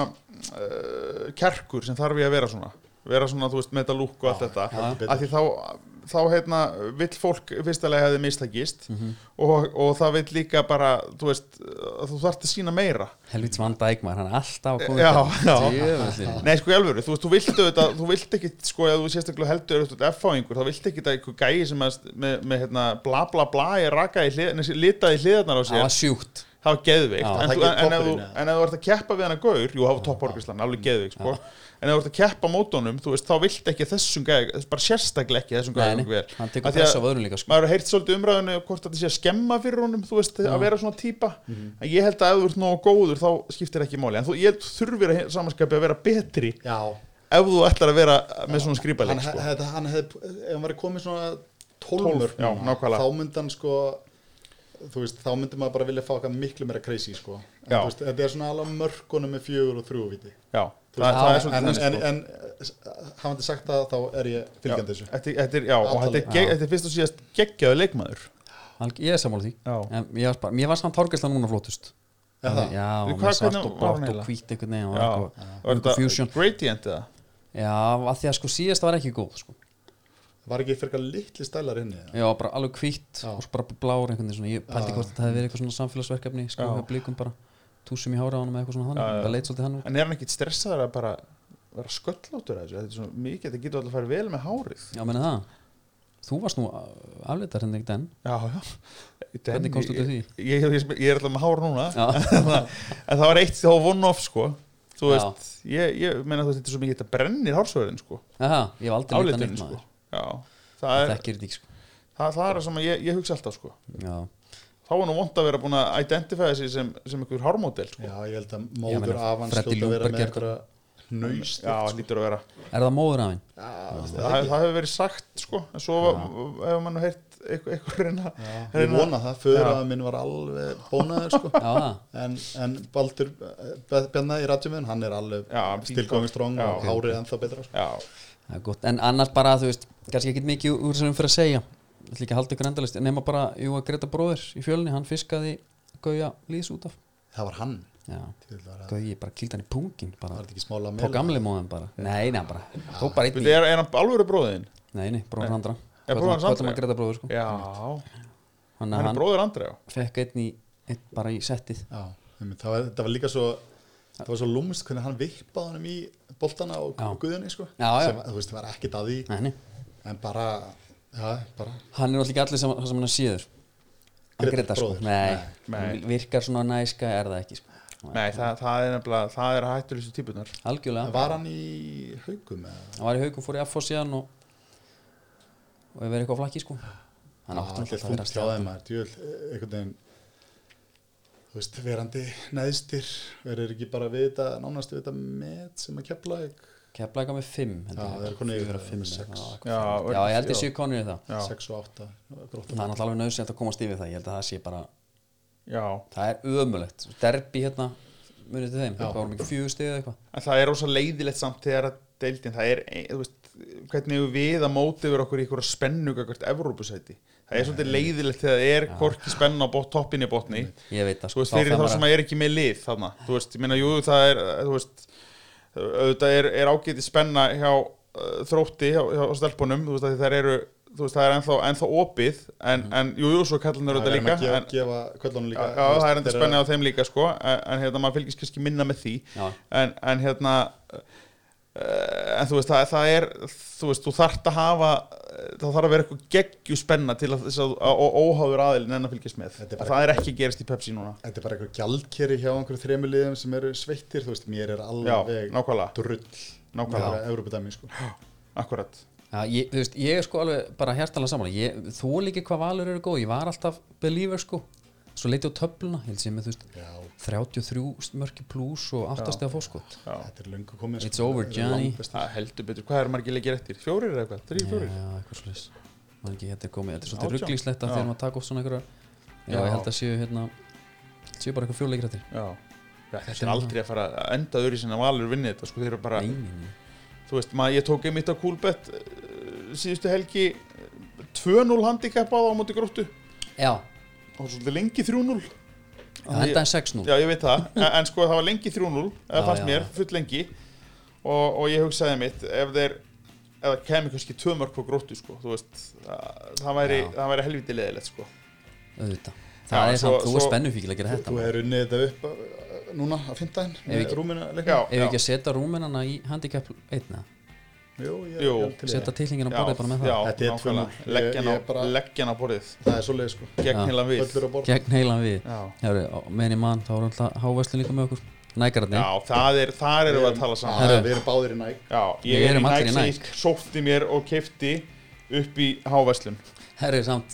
uh, kerkur sem þarf ég að vera svona vera svona, þú veist, með þetta lúk og allt þetta
heldur betur.
af því þá, þá hérna, vill fólk fyrstalega hefði mistakist
Mhm.
og, og það vill líka bara þú veist, að þú þarft að sína meira
Helvits Van Dijk maður, hann er alltaf að koma hérna.
Já, já.
já
Nei, sko, í alvöru, þú veist, þú vilt auðvitað, þú vilt ekki, sko, ef þú sérstaklega heldur auðvitað F-fáingur, þá vilt ekki að eitthvað gæi sem að, með, með, hérna, bla bla bla, ég raka í hlið, nei, litaði hliðarnar á
Það
sér
var sjúkt
það var geðveikt
Já,
en,
það
þú,
getur
en, en, ef þú,
toppurinn, eða?
en ef þú ert að keppa við hana gaur jú, það var topporgislan, alveg geðveikt sko. en ef þú ert að keppa mótunum, þú veist, þá vilt ekki þessum gæði, bara sérstaklega ekki þessum
Nei,
gæði
nei,
gangi vel.
hann
Af
tekur
því
press á
að
vöðrun líka sko.
maður hefur heyrt svolítið umræðinu hvort þetta sé að skemma fyrir honum þú veist, að vera svona típa en ég held að ef þú ert nógu góður, þá skiptir ekki máli en þú, ég held þú þurfir að samanskapi að vera betri
Já,
ef þú ætlar að vera með svona
hann,
skrýpaleg
sko.
sko.
hann, hann hefði, ef hann væri komið svona 12
12,
mörg
já, nákvæmlega.
þá myndi hann sko þú veist, þá myndi maður bara vilja fá eitthvað miklu meira crazy sko, en,
Já.
þú veist, þetta er svona alveg mörgunum með fjögur og þrjú viti
Já,
Þú
það,
veist,
það er
en,
svolítið
en,
þannig,
en,
sko.
en hafandi sagt það, þá er ég fylgjandi
Já,
þessu
þetta er- þetta er- já, og þetta er
Allt
gegg- þetta er fyrst og síðast geggjaðu leikmaður
Alg- Ég er sammála því
Já.
En mér var, bara- mér var samt hárgæsla núna flottust
Er það?
Já,
Hvað-
og með svart
hvernig
og
var hún
blátt og
eiginlega?
hvít einhvern veginn og
Já.
eitthvað-
Var
eitthvað
þetta
fusion
gradient eða?
Já, að því að sko síðast var ekki góð sko.
var ekki fyrir eitthvað litli stælar inni eða?
Já, bara alveg hvít
Já.
og svo bara blár einhvern veginn svona. Ég pældi
Já.
hvort þetta hefði verið eitthvað svona samfélagsverkefni sko,
Já.
hjá blikum bara túsum í hára á hann með eitthvað svona þannig
Já, já.
Það leit svolítið hann út
En er hann ekkit stressaður að bara vera sköllóttur að þessu? Þetta er svona mikið, þetta getur alltaf að fara vel með hárið.
Já, meni það Þú varst nú uh, afleitar hérna henni
*laughs*
ekki den
Já, já.
Hvernig komst þú til því?
Ég, ég, ég, ég er alltaf með hár núna.
Já,
*laughs* en það var eitt þá one-off, sko. Þú
Já.
veist, ég, ég meina þú veist, þetta er svo mikið, þetta brennir hársvöðin, sko.
Aha, ég hef aldrei leitað
Álitin,
neitt
sko.
maður
Já. Það
Það
er
þekkir þetta ekki sko.
það, það, er það sem ég, ég hugsa alltaf, sko.
Já,
Þá er nú vond að vera búin að identifæða sig sem, sem einhver hármódel, sko.
Já, ég held að
Ég meina,
móður af hans
Freddy
hljóta að vera
Ljungberg
með
er
einhverja hnaust
Já, það lítur að vera.
Er það móður af henn?
Það, það hefur verið sagt, sko. En svo hefur mann heyrt eitthvað, eitthvað reyna.
Ég
reyna-
vona það, föður að minn var alveg bónaður
*laughs*
sko
Já, það
en, en Baldur Bjarnar í rætjumöðun, hann er alveg
Já,
stilgóðin stróng
Já,
og
ok.
hárið ennþá betra sko.
Já,
Það er gott, en annars bara, þú veist, kannski ekkit mikið úr þessum fyrir að segja Það er líka að halda ykkur endalist, nema bara, jú, að Greta bróðir í fjölni, hann fiskaði Gauja Lýðs út af
Það var hann
Já,
Til var að-
Gauji Sko, bara kýldi hann í pungin,
var
bara
þetta ekki smála
På gamli móðan bara, nei, nei, hann bara Tók bara einn
Veitu,
í,
er, er hann alvöru bróðin?
nei, nei, bróðir andra
Er bróðir hans
Hvað er
Andra?
maður Greta bróður, sko
Já,
Þannig
hann
að
er
hann
bróður Andrei
fekk einn í, einn bara í settið
Já, einmitt, það var, þetta var líka svo það var svo lúmist hvernig hann vippaði honum í boltana og
Já.
guðunni sko
Já, já.
Sem, þú veist, það var ekkert að því
Nei, nei,
en bara, já, bara
hann er náttúrulega ekki allir sem, það sem hann séður Hann
Greta
Greta, sko,
bróðir.
nei,
Nei.
nei. Virkar svona næska, er það ekki, sko
Nei, það, það er nefnilega, það er hættulistu típunar
Algjörlega
var hann í haugum eða?
hann var í haugum fór í F.O. síðan og og hefur verið eitthvað á flakki sko hann átti
alltaf
náttúrulega að
þungt
vera
hjá
stjarnan.
þeim að djöl, einhvern veginn þú veist, verandi neðstir verður ekki bara við þetta nánast við þetta met sem að kepla
Keflavík var með 5
Já, þeir eru konir í það, sex.
já,
Já,
já, ég
já.
held ég séu konur í það
Já.
6 og
það
8
er náttúrulega alveg nöðsynlegt að komast yfir það ég held að það sé bara,
Já,
það er ömulegt derbi hérna munið til þeim,
Já.
það vorum ekki fjögur stig eða eitthvað
en það er ósa leiðilegt samt þegar að deildin, það er ein- þú veist, hvernig eigum við að móti yfir okkur í einhverja spennu hvert Evrópusæti það er svolítið leiðilegt þegar það er hvorki spennu á bot, toppinni botni
ég veit það
þú veist,
þá
fyrir
þarf
þá
maður
sem er ekki með lið þarna, þú veist, ég meina, jú, það er eh, þú veist, auðvitað er, er ágæti spenna hjá uh, þrótti hjá, hjá stelpunum, þú veist, að það eru þú veist, það er ennþá, ennþá opið en,
Mhm.
en jú, jú, svo kallanur
það
þetta
er
líka
að gefa,
en,
gefa köllunum
já,
líka
já, það er enda spenna á þeim líka, sko en, en hérna, maður fylgist kannski minna með því
Já.
en, en hérna uh, en þú veist, það, það er þú veist, þú þarft að hafa eh, það þarf að vera eitthvað geggju spenna til að, þess að, að, að óháður aðilin en að fylgjast með
Þetta er bara-
það er ekki að gerast í Pepsi núna
Þetta er bara eitthvað gjaldkeri hjá einhverju þremuliðum sem eru sveittir, þú veist, mér er
Já,
alveg
nákvæmlega,
drull
nákvæmlega,
með Evrópudæmi, sko.
akkurat
Já, ég, þú veist, ég er sko alveg bara hjartalega saman ég, þú líki hvað valur eru góð, ég var alltaf believer sko, svo leiti á töfluna held sem með þú veist,
Já,
33 mörki pluss og 8 stega fórskot
Já,
þetta er löngu komið. sko.
It's over,
Þetta er
Johnny.
langbestir.
það heldur betur, hvað er margir leikir eftir? Fjórir eða eitthvað, þrý,
Já,
fjórir
eitthvað svo leis maður ekki hérna er komið, þetta er svolítið
Átján?
rugglingslegt að
Já.
þegar maður taka upp svona einhverja já,
Já.
ég held að séu hérna séu bara eitthvað fjóleikir eftir
Já, Já þetta er aldrei að fara að enda öðru sinna valur vinni þetta, sko, þeir eru bara
Nei, nei, nei.
þú veist, maður, ég tók einmitt á kúlbett uh, síðustu helgi eh, 2-0 handicap á það á móti gróttu
já,
og svolítið lengi 3-0
það
Ég-
endaði 6-0
Já, ég veit það, en, en sko það var lengi 3-0
Já,
eða fannst
já,
mér,
já.
full lengi og, og ég hugsaði mitt ef þeir ef það kemur kannski tvö mörg á gróttu sko, þú veist, það, það, væri,
Já.
það væri helviti leðilegt sko.
auðvitað það
Já,
er
svo-
samt, þú er
svo-
spennufíkil að gera þetta
Þú
maður.
hefur unnið þetta upp uh, núna á fymtdæðin
Ef ekki-
með rúmina
Já,
leikna.
ef við
já.
ekki að setja rúmenana í handicap 1 eða?
Jú, ég
Jú.
ég held til í
setja
það.
tillingin á
Já,
borðið bara með
já,
það
Þetta er
nákvæmlega.
2-0. Ég-
Leggja hann
ég bara-
á- leggja hann á borðið
Það er svolítið, sko.
gegn
Já.
heila við
Öllur á borð.
gegn heilan við
já.
Hefri, meðan ég mann, þá er alltaf hávæslu líka með okkur nægararni,
já, það er þar erum við að
Við-
tala saman
Herru.
Já, Við erum báðir í næk.
Já,
Við
ég er í
erum allir
næk
í
sem
Nike.
ég sótti mér og kefti upp í hávæslun
herri samt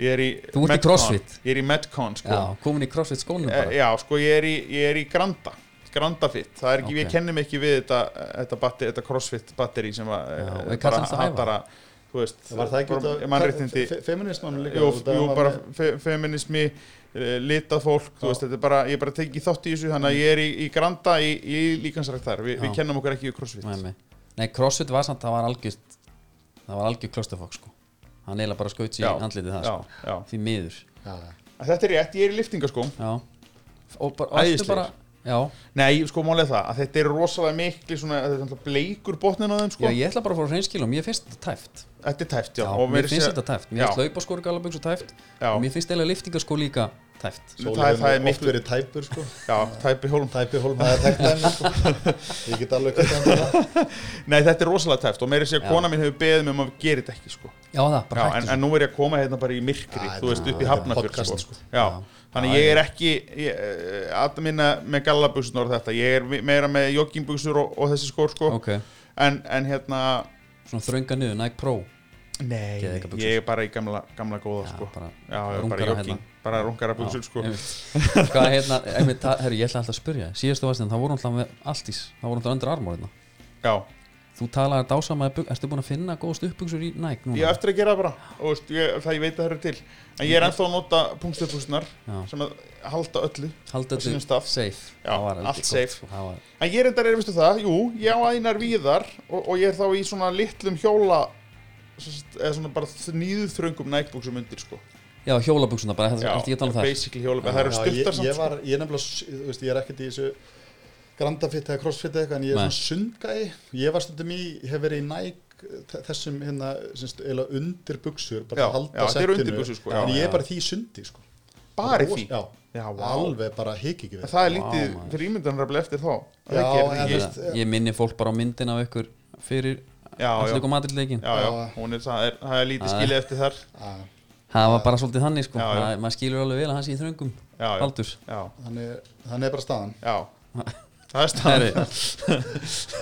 Ég er í
Þú ert í
Metcon.
CrossFit.
Ég er í Metcon, sko
já, komin í crossfit skónum
E-
bara
Já, sko, ég er í, ég er í Granda Granda fit, það er ekki,
Ok.
ég kenni mig ekki við þetta, þetta, batteri, þetta crossfit batteri sem að
Já,
eh,
við kallumst að æfa.
hatara, þú veist,
Var það ekki
bara
út af-
mannréttindi
fe- fe- Feminismanum líka.
jú,
út af-
jú,
var
bara
með-
fe feminismi eh, litað fólk, þú veist, þetta er bara ég er bara tekið þátt í þessu, þannig að ég er í, í Granda í, í líkansrækt þar, Vi, við
Já.
kennum okkur ekki við crossfit
Nei, nei. nei, crossfit var samt, það var algjört það var algjör klostafokk sko hann eiginlega bara skaut sér
Já,
í andlitið það
já,
sko.
já.
því miður
Já,
En Þetta er rétt, ég er í sko. liftingaskóm
já. og bara,
Æðislegir.
bara já.
Nei, sko, málega það, að þetta er rosalega mikli svona, þetta er náttúrulega bleikur botnin á þeim,
já,
sko
ég ætla bara að fóra hreinskilum, ég finnst þetta tæft
Þetta er tæft, já,
já,
og
mér
meira
finnst
segja-
þetta tæft, mér finnst
Já.
laupaskóri galaböksu tæft
Já.
og mér finnst eiginlega liftingaskó líka tæft
Það er-
Sóli
það er
hefur oft
miklu-
verið tæpur, sko.
Já, tæpi hólum
Tæpi hólm, það er tækt dæmi, sko.
*laughs*
Ég get alveg kvitað um það.
Nei, þetta er rosalega tæft og meira segja
Já.
kona mín hefur beðið mig um að gera þetta ekki, sko
já það,
Já,
bara
en,
hættu
en nú er ég að koma hérna bara í myrkri,
Já,
þú veist,
þetta-
upp í
þetta er
Hafnarfjörð
podcast,
sko.
sko.
Já,
Já.
þannig ég er ekki, alltaf minna með gallabugsunar og þetta, ég er vi- meira með jogginbugsur og, og þessi skór, sko,
svo ok,
en, en hérna,
svona þrönga niður, Nike Pro
nei,
Geðveika buxur.
ég er bara í gamla, gamla góða,
Já,
sko,
bara
já, já, bara
rúnkara
jogging,
hérna.
bara runkara bugsur, sko,
einmitt. hvað hérna, einmitt, það, herru, ég ætla alltaf að spyrja þig. síðastu varstinn, það voru alltaf með alltís það voru alltaf öndur armór hérna
já,
þú talaði dásamaði bug, ertu búin að finna góðst uppbuksur í Nike núna?
ég á eftir að gera það bara og veist, ég, það ég veit að það eru til en ég er ennþá að nota pungstöðbúsnar
Já.
sem að halda öllu
Haldið
á sínum
þetta
stað.
safe
Já,
Það var heldur
allt
gott,
safe.
sko. Það var,
en ég er endar er veistu það, jú, ég á ænar víðar og, og ég er þá í svona litlum hjóla sem sagt, eða svona bara nýðþröngum nækbúksum undir sko.
Já, hjólabuxuna bara, þetta
Já,
er allt ég að tala um það
basically hjóla, það eru
Já,
styrtar
ég,
samt
ég
sko.
var, ég er nefnilega, s- þú veist, ég er ekkert í þessu grandafitt eða crossfitt eða eitthvað en ég er
Nei.
svona sundgæi ég var stundum í, ég hef verið í næk þessum hérna, semst, eila undir buksur bara
Já,
að halda
já, þetta eru
settinu.
undirbuxur, sko,
en
já,
ég
já.
er bara í því í sundi sko.
bara í
Ros-
því
já,
Já, vá.
alveg bara hik ekki
En
við
það er
Vá,
lítið
maður.
fyrir ímyndan raflega eftir þá Það
Já,
ekki, er
en
það
þú
ekki?
veist-
ég, ég minni fólk bara á myndin af ykkur fyrir
Já, já.
allir kom aðriðleikin
já, já,
Já.
hún er, það, er, það er lítið
Já.
skilið eftir þar
Að,
Það var bara svolítið þannig sko
Já, já.
Það- Maður skilur alveg vel að hann sé í þröngum
Já, já.
Baldur
já,
þannig, þannig er bara staðan
já, það er *laughs* staðan
Herri,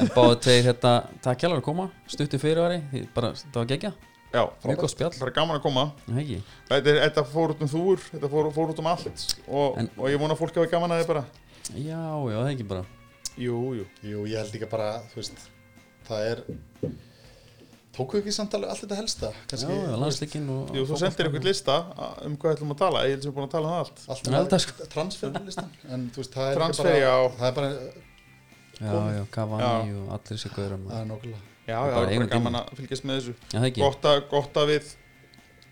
En báðu tegir þetta Takk hjálfur að koma, stuttu fyrirvari þið bara, Það var gegja,
já,
mjög gott spjall
bara gaman að koma
Nei, ekki.
Þetta, er- þetta fór út um þúr, þetta fór, fór út um allt og,
En-
og ég vona að fólk hafa gaman að þið bara
Já, já, það er ekki bara
Jú, jú
jú, ég held ekki bara, þú veist það er tóku ekki samtalið allt þetta helsta
Já,
kannski,
já, landsleikin og
Jú, þú sendir ykkur lista a- um hvað ætlum að tala, ég sem er búin að tala um það allt
allt
Nei, þetta
með
sko.
transferlistan en þú veist, það er
Transfer,
ekki
já.
bara, það er bara
já,
komið.
já, Cavani og allir sér gauður
það er nokkulega
Já,
Bara
það er bara
eigum
gaman að fylgjast með þessu
Já, það ekki
gott að, gott að við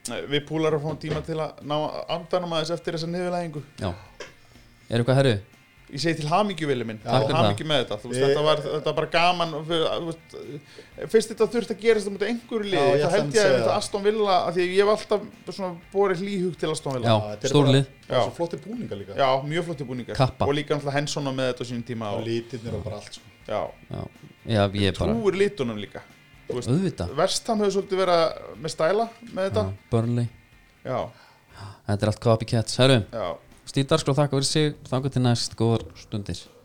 við púlar að fáum tíma til að ná andanum aðeins eftir þessa niðurlægingu
Já Er eitthvað herru?
ég segi til hamingju vilja minn
Já,
og
takk fyrir
hamingju með þetta, þú veist,
Við-
þetta var þetta var bara gaman og fyrir- þú veist, fyrst þetta þurft að gerast á mútið einhverju liði,
Já, ég
það
ætla
held
að
ég að
segja
þetta
það.
Aston Villa, af því ég hef alltaf svona borið hlýhug til Aston Villa
Já,
þetta er
stórlið.
bara, bara
Já.
svo flotti búninga líka
Já, mjög flotti búningar
Kappa.
og líka náttúrulega Henson á með þetta á sínum tíma
og
og,
lítirnir og bara allt sko.
já,
Já, já ég er bara
trúir litunum líka þú veist,
Auðvitað
Vestham hefur svolítið verið með stæla með þetta
Já, Burnley
já,
Þetta er allt copycats Herru, sko,
já.
Stíð Darskóð þakka fyrir sig Þangað til næst góðar stundir